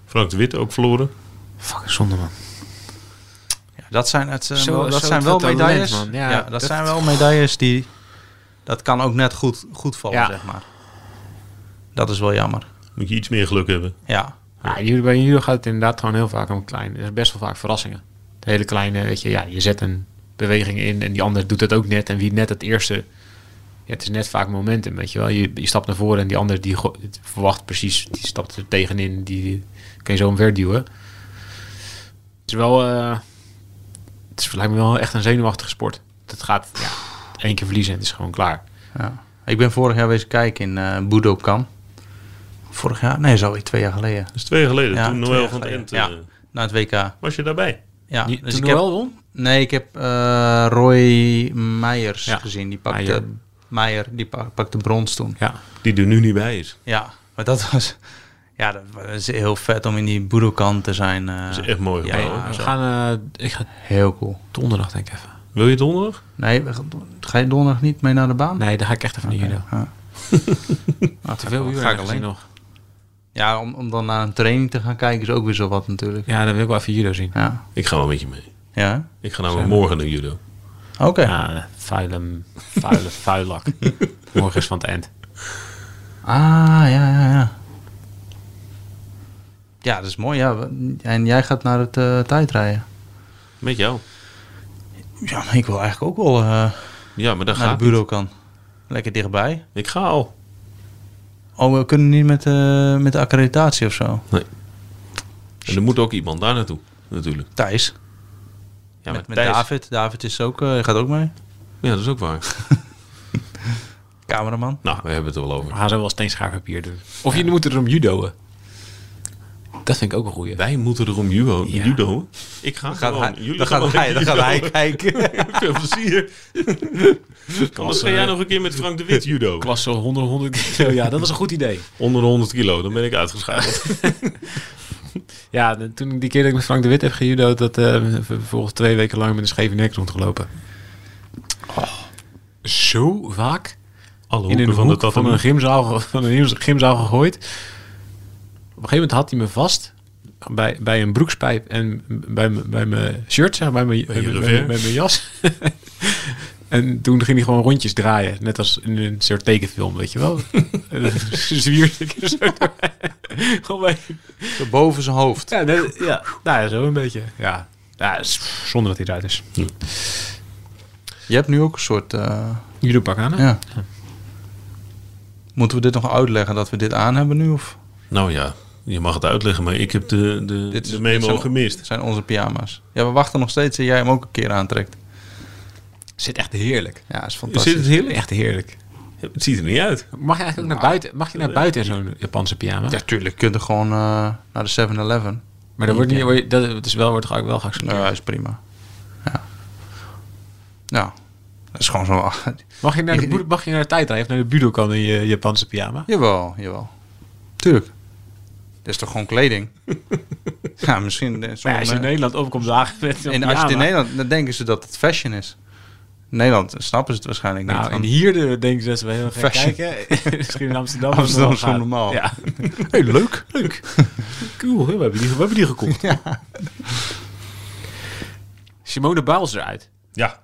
Speaker 5: Frank de Wit ook verloren.
Speaker 3: Fuck, zonde man.
Speaker 4: Ja, dat zijn, het, zijn
Speaker 3: Zo-
Speaker 4: wel, dat
Speaker 3: zo
Speaker 4: zijn wel
Speaker 3: talent,
Speaker 4: medailles.
Speaker 3: man. Ja,
Speaker 4: Ja, dat,
Speaker 3: dat-
Speaker 4: zijn wel medailles die. Dat kan ook net goed, goed vallen,
Speaker 3: Ja.
Speaker 4: zeg maar. Dat is wel jammer.
Speaker 5: Moet je iets meer geluk hebben.
Speaker 4: Ja.
Speaker 3: Ja, judo- bij judo gaat het inderdaad gewoon heel vaak om klein. Er zijn best wel vaak verrassingen. De hele kleine, weet je, ja, je zet een beweging in en die ander doet het ook net. En wie net het eerste, ja, het is net vaak momentum, weet je wel. Je, je stapt naar voren en die ander die go- het verwacht precies, die stapt er tegenin, die, die kan je zo omver duwen. Het is wel, eh, het is, lijkt me wel echt een zenuwachtige sport. Het gaat, ja, één keer verliezen en het is gewoon klaar.
Speaker 4: ja. Ik ben vorig jaar wezen kijken in eh Budokan. Vorig jaar? Nee, zo twee jaar geleden.
Speaker 5: Dat is twee jaar geleden,
Speaker 4: Ja,
Speaker 5: toen
Speaker 4: twee
Speaker 5: Noël
Speaker 4: jaar
Speaker 5: van het
Speaker 4: geleden.
Speaker 5: Ent
Speaker 4: Ja,
Speaker 5: eh,
Speaker 4: na het WK.
Speaker 5: was je daarbij.
Speaker 4: Ja,
Speaker 3: Die-
Speaker 4: dus
Speaker 3: toen
Speaker 4: ik heb,
Speaker 3: Noël won?
Speaker 4: Nee, ik heb eh, Roy Meijers
Speaker 3: Ja,
Speaker 4: gezien. Die pakte,
Speaker 3: Meijer.
Speaker 4: Meijer. die pa- pakte brons toen.
Speaker 3: Ja,
Speaker 5: Die er nu niet bij is.
Speaker 4: Ja, maar dat was... Ja, dat was heel vet om in die Budokan te zijn. eh.
Speaker 5: Dat is echt mooi.
Speaker 4: Ja,
Speaker 5: gebouw,
Speaker 4: ja.
Speaker 5: hè?
Speaker 3: we
Speaker 4: zo.
Speaker 3: gaan, eh, ik ga
Speaker 4: Heel cool.
Speaker 3: donderdag denk ik even.
Speaker 5: Wil je donderdag?
Speaker 4: Nee, we gaan- ga je donderdag niet mee naar de baan?
Speaker 3: Nee, daar ga ik echt even naar judo.
Speaker 4: Ja. Ah,
Speaker 3: Oh. Te veel uur
Speaker 4: ga ik
Speaker 3: alleen
Speaker 4: alleen.
Speaker 3: nog.
Speaker 4: Ja, om, om dan naar een training te gaan kijken is ook weer zo wat natuurlijk.
Speaker 3: Ja, dan wil ik wel even judo zien.
Speaker 4: Ja.
Speaker 5: Ik ga wel met je mee.
Speaker 4: Ja.
Speaker 5: Ik ga namelijk morgen naar judo.
Speaker 4: Oké.
Speaker 3: Ja, vuile,
Speaker 5: <laughs>
Speaker 3: vuile, vuilak. Morgen is van het eind.
Speaker 4: Ah, ja, ja, ja. Ja, dat is mooi. Ja. We- En jij gaat naar het eh, tijdrijden.
Speaker 5: Met jou.
Speaker 4: Ja, maar ik wil eigenlijk ook wel eh,
Speaker 5: Ja, maar daar
Speaker 4: naar
Speaker 5: gaat
Speaker 4: de bureau kan. Lekker dichtbij.
Speaker 5: Ik ga al.
Speaker 4: Oh, we kunnen niet met, eh, met de accreditatie of zo.
Speaker 5: En er moet ook iemand daar naartoe, natuurlijk.
Speaker 4: Thijs.
Speaker 5: Ja,
Speaker 4: met, met
Speaker 5: Thijs-
Speaker 4: David. David is ook, eh, gaat ook mee.
Speaker 5: Ja, dat is ook waar.
Speaker 4: Cameraman.
Speaker 5: Nou, we hebben het er
Speaker 3: We
Speaker 5: wel over.
Speaker 3: gaan zo wel steenschaarpapier doen. Of jullie moeten erom judoën. Dat vind ik ook een goeie.
Speaker 5: Wij moeten er om judo.
Speaker 3: Ja.
Speaker 5: judo. Ik ga
Speaker 4: Gaat
Speaker 5: gewoon.
Speaker 4: hij,
Speaker 5: Jullie
Speaker 4: dan
Speaker 5: gaan <laughs>
Speaker 4: gaat
Speaker 5: wel
Speaker 4: hij, dan gaat hij kijken.
Speaker 5: Veel plezier. <laughs> Anders ga jij nog een keer met Frank de Wit judo.
Speaker 3: Klasse 100, 100 kilo. Ja, dat was een goed idee.
Speaker 5: Onder de 100 kilo, dan ben ik uitgeschakeld.
Speaker 3: Ja, de- toen ik die keer dat ik met Frank de Wit heb gejudo, dat eh, we vervolgens twee weken lang met een scheve nek rondgelopen. Oh, zo vaak
Speaker 5: <laughs> Alle
Speaker 3: in
Speaker 5: hoeken
Speaker 3: een
Speaker 5: van de
Speaker 3: hoek van een
Speaker 5: tattoo.
Speaker 3: gymzaal, ge- <laughs> van een gymzaal gegooid. Op een gegeven moment had hij me vast bij, bij een broekspijp en bij, mijn- bij mijn shirt, zeg, maar, bij, mijn, bij,
Speaker 5: je
Speaker 3: mijn- bij,
Speaker 5: revers.
Speaker 3: mijn jas. <laughs> en toen ging hij gewoon rondjes draaien, net als in een soort tekenfilm, weet je <laughs> wel. En dan Zwierde ik er zo doorheen. <laughs> Gewoon bij-
Speaker 4: <laughs> Boven zijn hoofd.
Speaker 3: ja, net- ja, nou ja, zo een beetje. Ja. Ja, s- zonder dat hij eruit is.
Speaker 4: Je hebt nu ook een soort... eh,
Speaker 3: Judo pak aan. hè?
Speaker 4: ja. Moeten we dit nog uitleggen dat we dit aan hebben nu? Of?
Speaker 5: Nou ja, je mag het uitleggen, maar ik heb de, de,
Speaker 4: Dit is-
Speaker 5: de memo
Speaker 4: dit zijn-
Speaker 5: gemist.
Speaker 4: Dit zijn onze pyjama's. Ja, we wachten nog steeds dat jij hem ook een keer aantrekt.
Speaker 3: Zit echt heerlijk.
Speaker 4: Ja, is fantastisch.
Speaker 5: Zit het heerlijk?
Speaker 3: Echt heerlijk.
Speaker 5: Het ziet er niet uit.
Speaker 3: Mag je eigenlijk ook naar buiten, mag je naar buiten in zo'n Japanse pyjama?
Speaker 4: Ja, tuurlijk. Je kunt er gewoon eh, naar de 7-Eleven.
Speaker 3: Maar dat wordt niet, word je- dat het is wel, wordt ge- wel geaccepteerd.
Speaker 4: Ja, is prima. Ja. Nou, dat is gewoon zo.
Speaker 3: Mag je
Speaker 4: <laughs>
Speaker 3: naar de,
Speaker 4: Je- je-
Speaker 3: boed- mag je naar de tijdrijf, naar de Budokan in je Japanse pyjama?
Speaker 4: jawel, jawel. Tuurlijk. Dat is toch gewoon <laughs> kleding? ja, misschien. eh,
Speaker 3: Nou ja, als je in
Speaker 4: sommige-
Speaker 3: Nederland opkomt dagen met een
Speaker 4: en als je het in
Speaker 3: pyjama.
Speaker 4: Nederland, dan denken ze dat het fashion is. In Nederland snappen ze het waarschijnlijk niet.
Speaker 3: Nou, en
Speaker 4: want-
Speaker 3: hier de, denken ze dat ze wel heel gek
Speaker 4: Fashion. <laughs>
Speaker 3: kijken. Misschien in Amsterdam. is het
Speaker 4: Amsterdam
Speaker 3: nog
Speaker 4: is gewoon
Speaker 3: gaaf.
Speaker 4: normaal.
Speaker 3: Ja. Hey, leuk.
Speaker 5: <laughs>
Speaker 3: Leuk. Cool, we hebben die, we hebben die gekocht. Simone Biles eruit.
Speaker 7: Ja,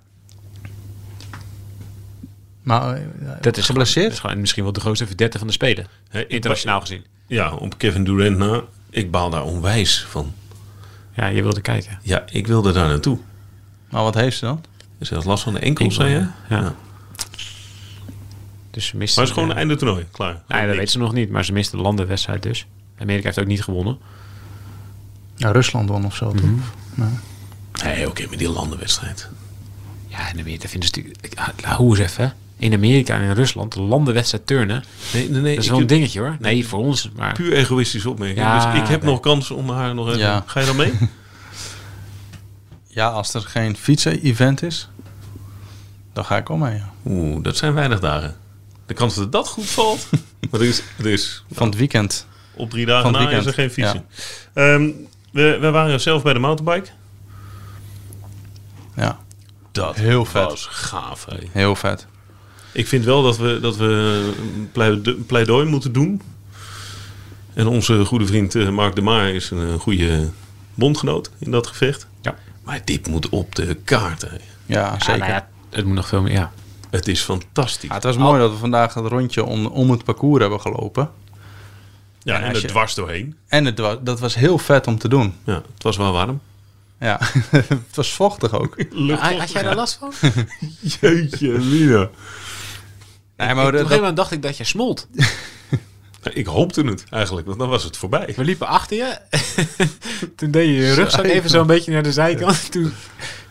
Speaker 4: Maar eh,
Speaker 3: Dat is gewoon-
Speaker 4: geblesseerd?
Speaker 3: dat is gewoon misschien wel de grootste verdette van de Spelen.
Speaker 5: Hè, ik-
Speaker 3: Internationaal gezien.
Speaker 5: Ja, op Kevin Durant na. Ik baal daar onwijs van.
Speaker 3: Ja, je wilde kijken.
Speaker 5: Ja, ik wilde daar naartoe.
Speaker 4: maar wat heeft ze dan?
Speaker 5: Is dat last van de enkel,
Speaker 3: Enkel,
Speaker 5: zei je?
Speaker 3: ja. Ja. Dus ze miste...
Speaker 5: Maar het is gewoon
Speaker 3: eh,
Speaker 5: een einde toernooi. Klaar.
Speaker 3: nou ja,
Speaker 5: Gewoon
Speaker 3: dat
Speaker 5: niks.
Speaker 3: weet ze nog niet, maar ze miste de landenwedstrijd dus. Amerika heeft ook niet gewonnen.
Speaker 4: Ja, Rusland won of zo. toch?
Speaker 3: Mhm.
Speaker 5: Nee, oké, maar die landenwedstrijd.
Speaker 3: Ja, en Amerika vinden ze natuurlijk... ik- ah, Hoe eens even, hè. In Amerika en in Rusland, de landenwedstrijd turnen.
Speaker 5: Nee, nee, nee.
Speaker 3: Dat is
Speaker 5: ik
Speaker 3: wel een
Speaker 5: heb
Speaker 3: dingetje hoor. Nee, voor ons, maar...
Speaker 5: Puur egoïstische opmerking.
Speaker 3: Ja,
Speaker 5: dus ik heb
Speaker 3: nee.
Speaker 5: nog kans om haar nog even...
Speaker 4: Ja.
Speaker 5: Ga je dan mee?
Speaker 3: <laughs>
Speaker 4: Ja, als er geen fietsen-event is, dan ga ik om mee. ja.
Speaker 5: Oeh, dat zijn weinig dagen. De kans dat dat goed
Speaker 3: <laughs>
Speaker 5: valt... Maar er is, er is
Speaker 4: Van het weekend.
Speaker 5: op drie dagen
Speaker 4: Van het
Speaker 5: na is er geen
Speaker 4: weekend,
Speaker 5: fietsen. Ehm, we, we waren zelf bij de mountainbike.
Speaker 4: Ja,
Speaker 5: Dat
Speaker 4: Heel vet.
Speaker 5: was gaaf, hé.
Speaker 4: heel vet.
Speaker 5: Ik vind wel dat we, dat we een pleide- pleidooi moeten doen. En onze goede vriend eh, Mark de Maar is een eh, goede bondgenoot in dat gevecht.
Speaker 3: Ja.
Speaker 5: Maar dit moet op de kaart. hè.
Speaker 4: Ja, zeker.
Speaker 3: Ah, nou ja, het moet nog veel meer, ja.
Speaker 5: Het is fantastisch.
Speaker 4: Ja, het was mooi dat we vandaag het rondje om, om het parcours hebben gelopen.
Speaker 5: Ja, en
Speaker 4: als
Speaker 5: er
Speaker 4: je-
Speaker 5: dwars doorheen.
Speaker 4: En het wa- dat was heel vet om te doen.
Speaker 5: Ja, het was wel warm.
Speaker 4: Ja, <laughs> het was vochtig
Speaker 3: <laughs>
Speaker 4: ook.
Speaker 3: Had, had jij daar last
Speaker 5: <laughs>
Speaker 3: van?
Speaker 5: Jeetje, Mina.
Speaker 4: Nee,
Speaker 3: Op
Speaker 4: maar
Speaker 3: een
Speaker 4: dat,
Speaker 3: gegeven moment dacht ik dat je smolt.
Speaker 5: Ik hoopte het eigenlijk, want dan was het voorbij.
Speaker 3: We liepen achter je. <laughs> Toen deed je je rugzak even zo'n beetje naar de zijkant. Toen je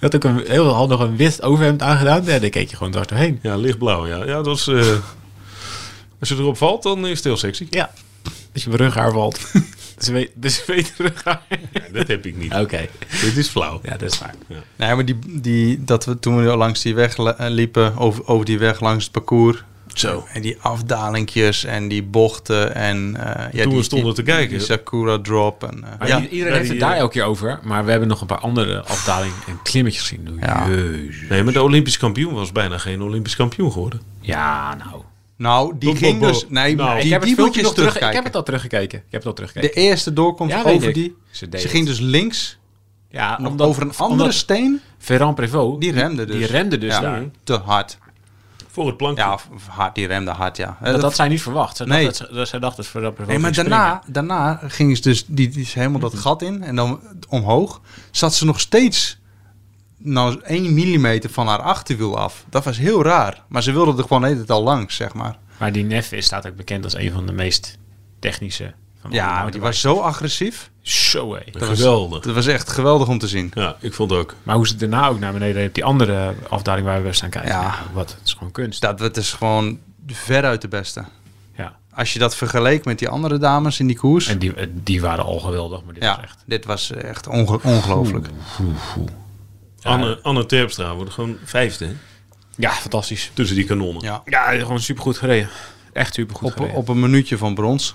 Speaker 3: had ook een heel handig een wit overhemd aangedaan. Ja, daar keek je gewoon dwars doorheen.
Speaker 5: Ja, lichtblauw. Ja, ja dat was... eh, als je erop valt, dan is het heel sexy.
Speaker 3: Ja. Dat je mijn rughaar valt.
Speaker 5: <laughs>
Speaker 3: Dus weet, dus weet rughaar.
Speaker 5: Nee, dat heb ik niet.
Speaker 3: Oké.
Speaker 5: Dit is flauw.
Speaker 3: Ja, dat is waar.
Speaker 4: nee, maar die, die, dat we toen we langs die weg la- eh, liepen, over, over die weg langs het parcours.
Speaker 5: Zo.
Speaker 4: En die afdalingjes en die bochten en... eh, ja,
Speaker 5: Toen
Speaker 4: die,
Speaker 5: we stonden
Speaker 4: die-
Speaker 5: te kijken.
Speaker 4: Die Sakura drop en... eh,
Speaker 3: Maar
Speaker 4: ja,
Speaker 3: i- iedereen
Speaker 5: bij
Speaker 3: heeft het
Speaker 5: die,
Speaker 3: daar
Speaker 5: eh,
Speaker 3: elke keer over. Maar we hebben nog een paar andere afdalingen en klimmetjes gezien.
Speaker 4: Ja.
Speaker 3: Jezus.
Speaker 5: Nee, maar de Olympisch kampioen was bijna geen Olympisch kampioen geworden.
Speaker 3: Ja, nou.
Speaker 4: nou, die
Speaker 5: Bo- bo-
Speaker 4: ging
Speaker 5: bo.
Speaker 4: dus... Nee,
Speaker 5: Nou,
Speaker 4: die,
Speaker 3: ik heb
Speaker 4: die
Speaker 3: het
Speaker 4: moet
Speaker 3: filmpje
Speaker 4: je eens
Speaker 3: nog terug,
Speaker 4: terugkijken.
Speaker 3: Ik heb het al teruggekeken. Ik heb het al teruggekeken.
Speaker 4: De eerste doorkomst
Speaker 3: Ja, weet
Speaker 4: over
Speaker 3: ik.
Speaker 4: die...
Speaker 3: Ze deed
Speaker 4: Ze
Speaker 3: het.
Speaker 4: ging dus links,
Speaker 3: ja,
Speaker 4: nog
Speaker 3: omdat-
Speaker 4: over een andere
Speaker 3: omdat
Speaker 4: steen.
Speaker 3: Ferrand Prevot.
Speaker 4: Die remde dus.
Speaker 3: Die remde dus
Speaker 4: Ja,
Speaker 3: daar.
Speaker 4: Te hard.
Speaker 5: Voor het plankje.
Speaker 4: Ja, of- of hard, die remde hard, ja. Eh,
Speaker 3: Dat
Speaker 4: dat-
Speaker 3: had zij niet verwacht. Zij
Speaker 4: Nee.
Speaker 3: dacht dat, ze- dat zij dacht dat Ferrand Prevot
Speaker 4: nee, maar
Speaker 3: ging
Speaker 4: daarna, daarna ging ze dus die, die is helemaal dat
Speaker 3: Mhm.
Speaker 4: gat in en dan omhoog. Zat ze nog steeds nou 1 millimeter van haar achterwiel af. Dat was heel raar. Maar ze wilde er gewoon de hele tijd al langs, zeg maar.
Speaker 3: springen. Maar die Nef is staat ook bekend als een van de meest technische. Van alle
Speaker 4: Ja, die was zo agressief.
Speaker 3: mountainbikers. Zo hé.
Speaker 5: Dat Geweldig.
Speaker 4: Dat was echt geweldig om te zien.
Speaker 5: Ja, ik vond ook.
Speaker 3: Maar hoe ze daarna ook naar beneden op die andere afdaling waar we staan kijken.
Speaker 4: Ja.
Speaker 3: nou, wat, het is gewoon kunst.
Speaker 4: Dat, dat is gewoon veruit de beste.
Speaker 3: ja.
Speaker 4: Als je dat vergeleek met die andere dames in die koers.
Speaker 3: En die, eh, die waren al geweldig, maar dit
Speaker 4: ja,
Speaker 3: was echt...
Speaker 4: dit was echt onge- ongelooflijk.
Speaker 5: Anne, Anne Terpstra wordt gewoon vijfde hè,
Speaker 3: Ja, fantastisch.
Speaker 5: tussen die kanonnen.
Speaker 4: Ja.
Speaker 3: Ja, gewoon supergoed gereden. Echt supergoed
Speaker 4: op,
Speaker 3: gereden.
Speaker 4: op een minuutje van brons.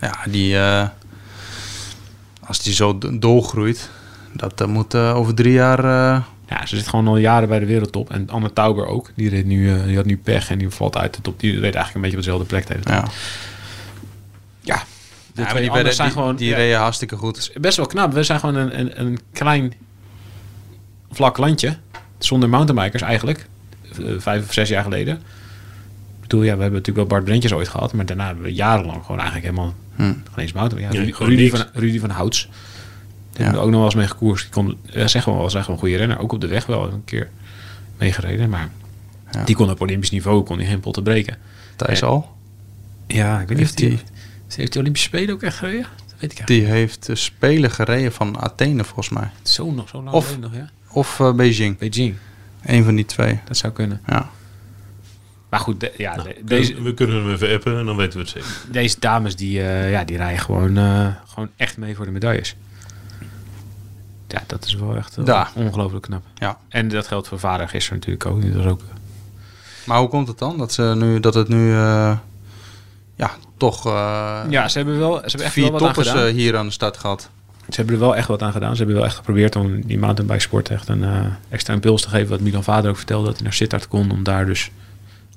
Speaker 4: Ja, die. eh, als die zo d- doorgroeit, dat eh, moet eh, over drie jaar. eh,
Speaker 3: Ja, ze zit gewoon al jaren bij de wereldtop. En Anne Tauber ook. Die, reed nu, eh, die had nu pech en die valt uit de top. Die reed eigenlijk een beetje op dezelfde plek tegen.
Speaker 4: ja.
Speaker 3: Ja, de
Speaker 4: Ja, maar
Speaker 3: twee
Speaker 4: die,
Speaker 3: anderen
Speaker 4: werden,
Speaker 3: zijn
Speaker 4: die,
Speaker 3: gewoon...
Speaker 4: die
Speaker 3: ja,
Speaker 4: reden hartstikke goed.
Speaker 3: best wel knap. We zijn gewoon een, een, een klein vlak landje. Zonder mountainbikers eigenlijk. eh, Vijf of zes jaar geleden. Ik bedoel, ja, we hebben natuurlijk wel Bart Brentjes ooit gehad. Maar daarna hebben we jarenlang gewoon eigenlijk helemaal... Geen eens mountainbikers. Ja,
Speaker 5: Ja,
Speaker 3: Ru-
Speaker 5: gewoon
Speaker 3: Rudy,
Speaker 5: niks.
Speaker 3: van, Rudy van Houts. Daar
Speaker 4: Ja.
Speaker 3: hebben we ook nog wel eens mee gekoerst. Die kon, ja, zeg wel, was echt wel een goede renner. Ook op de weg wel een keer meegereden. Maar
Speaker 4: Ja.
Speaker 3: die kon op Olympisch niveau kon die geen potten breken.
Speaker 4: Thijs
Speaker 3: Ja.
Speaker 4: al.
Speaker 3: Ja, ik weet niet
Speaker 4: Heeft
Speaker 3: of die...
Speaker 4: die-
Speaker 3: Heeft die Olympische Spelen ook echt gereden? Dat weet ik eigenlijk
Speaker 4: Die heeft de Spelen gereden van Athene, volgens mij.
Speaker 3: zo, nog, zo lang
Speaker 4: Of-
Speaker 3: geleden nog, ja.
Speaker 4: Of eh, Beijing.
Speaker 3: Beijing,
Speaker 4: Een van die twee.
Speaker 3: dat zou kunnen.
Speaker 4: Ja.
Speaker 3: Maar goed, de- ja, de-
Speaker 5: Deze,
Speaker 3: deze,
Speaker 5: we Nou, kunnen hem even appen en dan weten we het zeker.
Speaker 3: deze dames die, eh, ja, die rijden gewoon, eh, gewoon echt mee voor de medailles. Ja, dat is wel echt eh,
Speaker 4: Ja.
Speaker 3: ongelooflijk knap.
Speaker 4: Ja.
Speaker 3: En dat geldt voor vader gisteren natuurlijk ook. Dat was ook eh,
Speaker 4: Maar hoe komt het dan dat, ze nu, dat het nu eh, ja, toch eh,
Speaker 3: ja, ze hebben, wel, ze hebben echt
Speaker 4: vier
Speaker 3: wel wat aan
Speaker 4: toppers
Speaker 3: gedaan.
Speaker 4: eh, hier aan de start gehad?
Speaker 3: Ze hebben er wel echt wat aan gedaan. Ze hebben wel echt geprobeerd om die mountainbike sport echt een eh, extra impuls te geven. Wat Milan Vader ook vertelde, dat hij naar Sittard kon om daar dus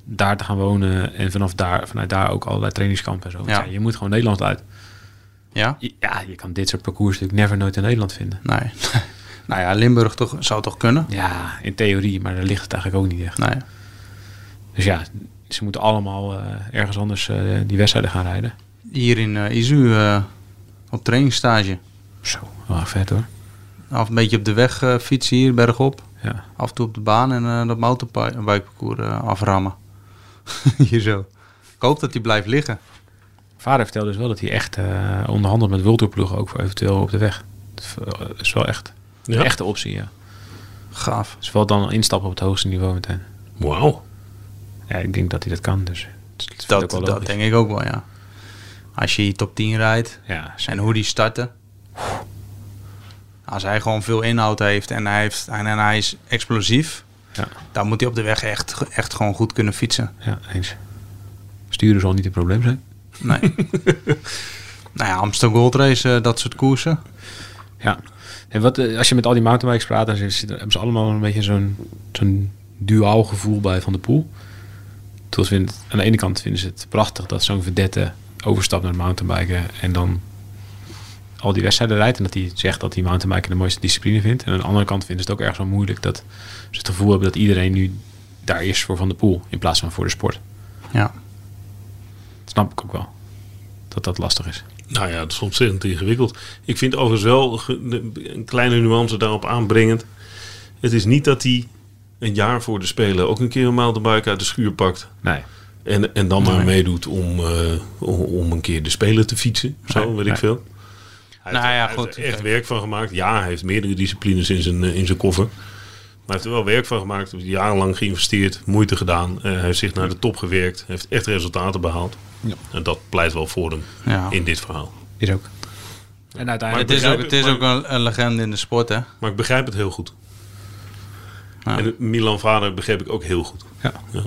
Speaker 3: daar te gaan wonen. En vanaf daar, vanuit daar ook allerlei trainingskampen en zo. Want
Speaker 4: Ja.
Speaker 3: ja, je moet gewoon Nederland uit.
Speaker 4: Ja?
Speaker 3: Ja, je kan dit soort parcours natuurlijk never nooit in Nederland vinden.
Speaker 4: Nee. <laughs> nou ja, Limburg toch, zou toch kunnen?
Speaker 3: Ja, in theorie, maar daar ligt het eigenlijk ook niet echt.
Speaker 4: Nee.
Speaker 3: Dus ja, ze moeten allemaal eh, ergens anders eh, die wedstrijden gaan rijden.
Speaker 4: Hier in eh, Izu eh, op trainingsstage.
Speaker 3: Zo, wel vet hoor.
Speaker 4: Af een beetje op de weg eh, fietsen hier, bergop.
Speaker 3: Ja.
Speaker 4: Af en toe op de baan en eh dat mountainbikeparcours eh, aframmen. <laughs> hier zo. Ik hoop dat die blijft liggen.
Speaker 3: Vader vertelde dus wel dat hij echt eh, onderhandelt met Worldtourploegen ook voor eventueel op de weg. Dat is wel echt een
Speaker 5: Ja.
Speaker 3: echte optie, ja.
Speaker 4: Gaaf.
Speaker 3: Dus wel dan instappen op het hoogste niveau meteen.
Speaker 5: Wauw.
Speaker 3: Ja, ik denk dat hij dat kan, dus het is
Speaker 4: Dat,
Speaker 3: ook wel
Speaker 4: dat
Speaker 3: logisch.
Speaker 4: denk ik ook wel, ja. Als je hier top 10 rijdt
Speaker 3: Ja,
Speaker 4: en hoe die starten. Als hij gewoon veel inhoud heeft en hij, heeft, en, en hij is explosief.
Speaker 3: Ja.
Speaker 4: Dan moet hij op de weg echt, echt gewoon goed kunnen fietsen.
Speaker 3: ja, eens. Sturen zal niet het probleem zijn.
Speaker 4: Nee. nou ja, Amsterdam Gold Race, eh, dat soort koersen.
Speaker 3: Ja. En wat, eh, als je met al die mountainbikes praat, dan zitten- hebben ze allemaal een beetje zo'n zo'n duaal gevoel bij Van de Poel. Terwijl ze vinden- aan de ene kant vinden ze het prachtig dat zo'n verdette overstapt naar het mountainbiken en dan al die wedstrijden rijdt en dat hij zegt dat hij mountainbiken de mooiste discipline vindt. En aan de andere kant vinden ze het ook erg zo moeilijk dat ze het gevoel hebben dat iedereen nu daar is voor Van de Poel in plaats van voor de sport.
Speaker 4: Ja.
Speaker 3: Dat snap ik ook wel. Dat dat lastig is.
Speaker 5: Nou ja, dat is ontzettend ingewikkeld. Ik vind overigens wel ge- een kleine nuance daarop aanbrengend. Het is niet dat hij een jaar voor de Spelen ook een keer een mountainbike uit de schuur pakt.
Speaker 3: Nee.
Speaker 5: En, en dan maar
Speaker 3: Nee.
Speaker 5: meedoet om, eh, om, om een keer de Spelen te fietsen. Zo,
Speaker 3: Nee,
Speaker 5: weet
Speaker 3: nee.
Speaker 5: ik veel. Hij
Speaker 4: Nou
Speaker 5: heeft-
Speaker 4: ja,
Speaker 5: hij
Speaker 4: goed.
Speaker 5: heeft er echt werk van gemaakt. Ja, hij heeft meerdere disciplines in zijn, eh, in zijn koffer. Maar hij heeft er wel werk van gemaakt. Hij heeft jarenlang geïnvesteerd, moeite gedaan. Eh, hij heeft zich naar de top gewerkt. Hij heeft echt resultaten behaald. En dat pleit wel voor hem
Speaker 4: Ja.
Speaker 5: in dit verhaal.
Speaker 3: Is ook. En uiteindelijk...
Speaker 4: Het is ook, het is
Speaker 5: maar-
Speaker 4: ook een, een legende in de sport, hè?
Speaker 5: Maar ik begrijp het heel goed.
Speaker 4: Ja.
Speaker 5: En Milan Vader begreep ik ook heel goed.
Speaker 3: Ja.
Speaker 5: Maar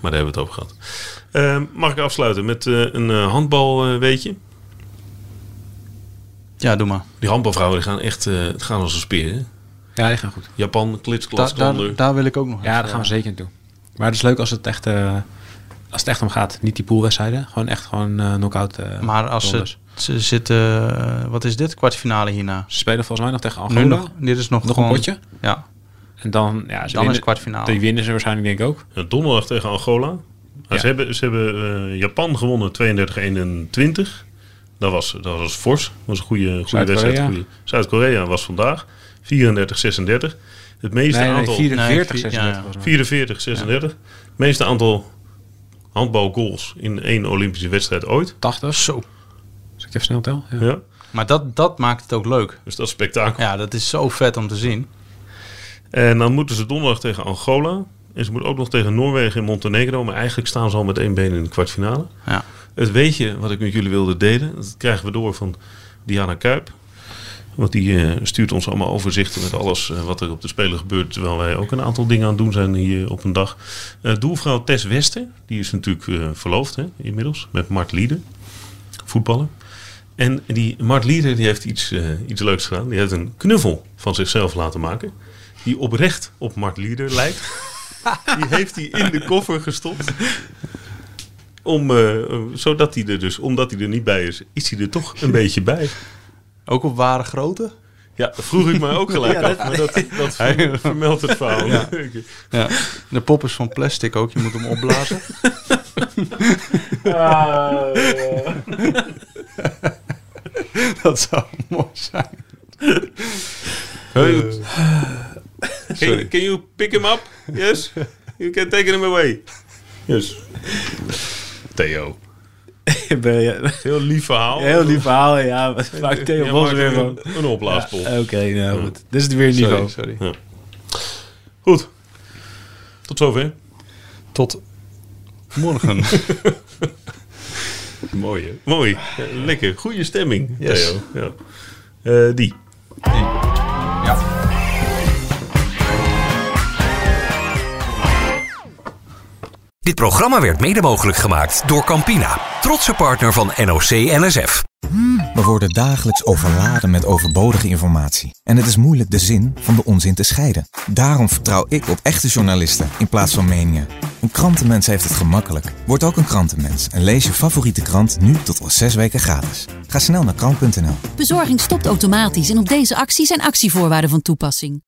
Speaker 5: daar hebben we het over gehad. Ehm, mag ik afsluiten met eh, een eh, handbal, eh, weetje?
Speaker 4: Ja, doe maar.
Speaker 5: Die handbalvrouwen die gaan echt eh, het gaan als een speer. Hè?
Speaker 3: Ja, die gaan goed.
Speaker 5: Japan, klitsklas,
Speaker 4: Da- daar,
Speaker 5: Kander.
Speaker 4: daar wil ik ook nog
Speaker 3: Ja, daar gaan we zeker naartoe. Maar het is leuk als het echt, eh, als het echt om gaat. Niet die poolwedstrijden. Gewoon echt gewoon eh knock-out. eh,
Speaker 4: Maar als ze,
Speaker 3: rondes.
Speaker 4: ze zitten... eh, wat is dit? Kwartfinale hierna.
Speaker 3: Ze spelen volgens mij nog tegen
Speaker 4: Nu
Speaker 3: Angola.
Speaker 4: nog, dit is nog,
Speaker 3: nog
Speaker 4: gewoon...
Speaker 3: een potje.
Speaker 4: Ja,
Speaker 3: En dan, ja, ze
Speaker 4: dan is
Speaker 3: winnen,
Speaker 4: het kwartfinale.
Speaker 3: Die winnen ze waarschijnlijk denk ik ook.
Speaker 5: Eh, Donderdag tegen Angola. Maar
Speaker 3: Ja.
Speaker 5: Ze hebben, ze hebben eh, Japan gewonnen 32-21. Dat was, dat was fors. Dat was een goede, goede
Speaker 3: Zuid-Korea.
Speaker 5: wedstrijd. goede- Zuid-Korea was vandaag 34-36. Het meeste
Speaker 3: Nee, nee,
Speaker 5: aantal...
Speaker 3: 44,
Speaker 4: Nee,
Speaker 3: 36
Speaker 4: ja, ja.
Speaker 3: volgens mij.
Speaker 5: 44, 36. Meeste aantal handbalgoals in één Olympische wedstrijd ooit.
Speaker 3: 80. Zo. Als ik even snel tel. Ja.
Speaker 8: <laughs>
Speaker 5: Ja.
Speaker 4: Maar dat, dat maakt het ook leuk.
Speaker 5: Dus dat is spektakel.
Speaker 4: Ja, dat is zo vet om te zien.
Speaker 5: En dan moeten ze donderdag tegen Angola. En ze moeten ook nog tegen Noorwegen en Montenegro. Maar eigenlijk staan ze al met één been in de kwartfinale.
Speaker 4: Ja.
Speaker 5: Het weetje wat ik met jullie wilde delen, dat krijgen we door van Diana Kuip. Want die eh, stuurt ons allemaal overzichten met alles eh, wat er op de Spelen gebeurt. Terwijl wij ook een aantal dingen aan het doen zijn hier op een dag. Eh, doelvrouw Tess Wester, die is natuurlijk eh, verloofd hè, inmiddels met Mart Lieder, voetballer. En die Mart Lieder die heeft iets, eh, iets leuks gedaan. Die heeft een knuffel van zichzelf laten maken. Die oprecht op Mart Lieder lijkt. Die heeft hij in de koffer gestopt. Om, eh, eh, zodat hij er dus, omdat hij er niet bij is, is hij er toch een beetje bij.
Speaker 4: Ook op ware grootte?
Speaker 5: Ja, dat vroeg ik mij ook gelijk af. Maar dat, <laughs> dat ver- vermeldt het verhaal.
Speaker 4: Ja. De pop is van plastic ook, je moet hem opblazen. <laughs> dat zou mooi zijn. Eh,
Speaker 5: Can, can you pick him up? Yes? You can take him away. Yes. Theo.
Speaker 8: Ik ben, ja,
Speaker 5: Heel lief verhaal.
Speaker 8: heel lief verhaal,
Speaker 3: <laughs>
Speaker 8: ja. maar Maakt Theo
Speaker 5: Ja,
Speaker 8: Bos
Speaker 5: maar
Speaker 8: weer
Speaker 5: een,
Speaker 8: van.
Speaker 5: een opblaaspol.
Speaker 8: Oké, nou goed. Dit is het weer een niveau.
Speaker 4: Sorry, sorry.
Speaker 5: Goed. Tot zover.
Speaker 4: Tot morgen.
Speaker 5: Mooi, hè? Mooi. Ja, Lekker. Goede stemming,
Speaker 4: Yes.
Speaker 5: Theo. Ja. Eh, die.
Speaker 4: Ja.
Speaker 2: Dit programma werd mede mogelijk gemaakt door Campina, trotse partner van NOC NSF.
Speaker 9: We worden dagelijks overladen met overbodige informatie. En het is moeilijk de zin van de onzin te scheiden. Daarom vertrouw ik op echte journalisten in plaats van meningen. Een krantenmens heeft het gemakkelijk. Word ook een krantenmens en lees je favoriete krant nu tot al zes weken gratis. Ga snel naar krant.nl.
Speaker 10: Bezorging stopt automatisch en op deze actie zijn actievoorwaarden van toepassing.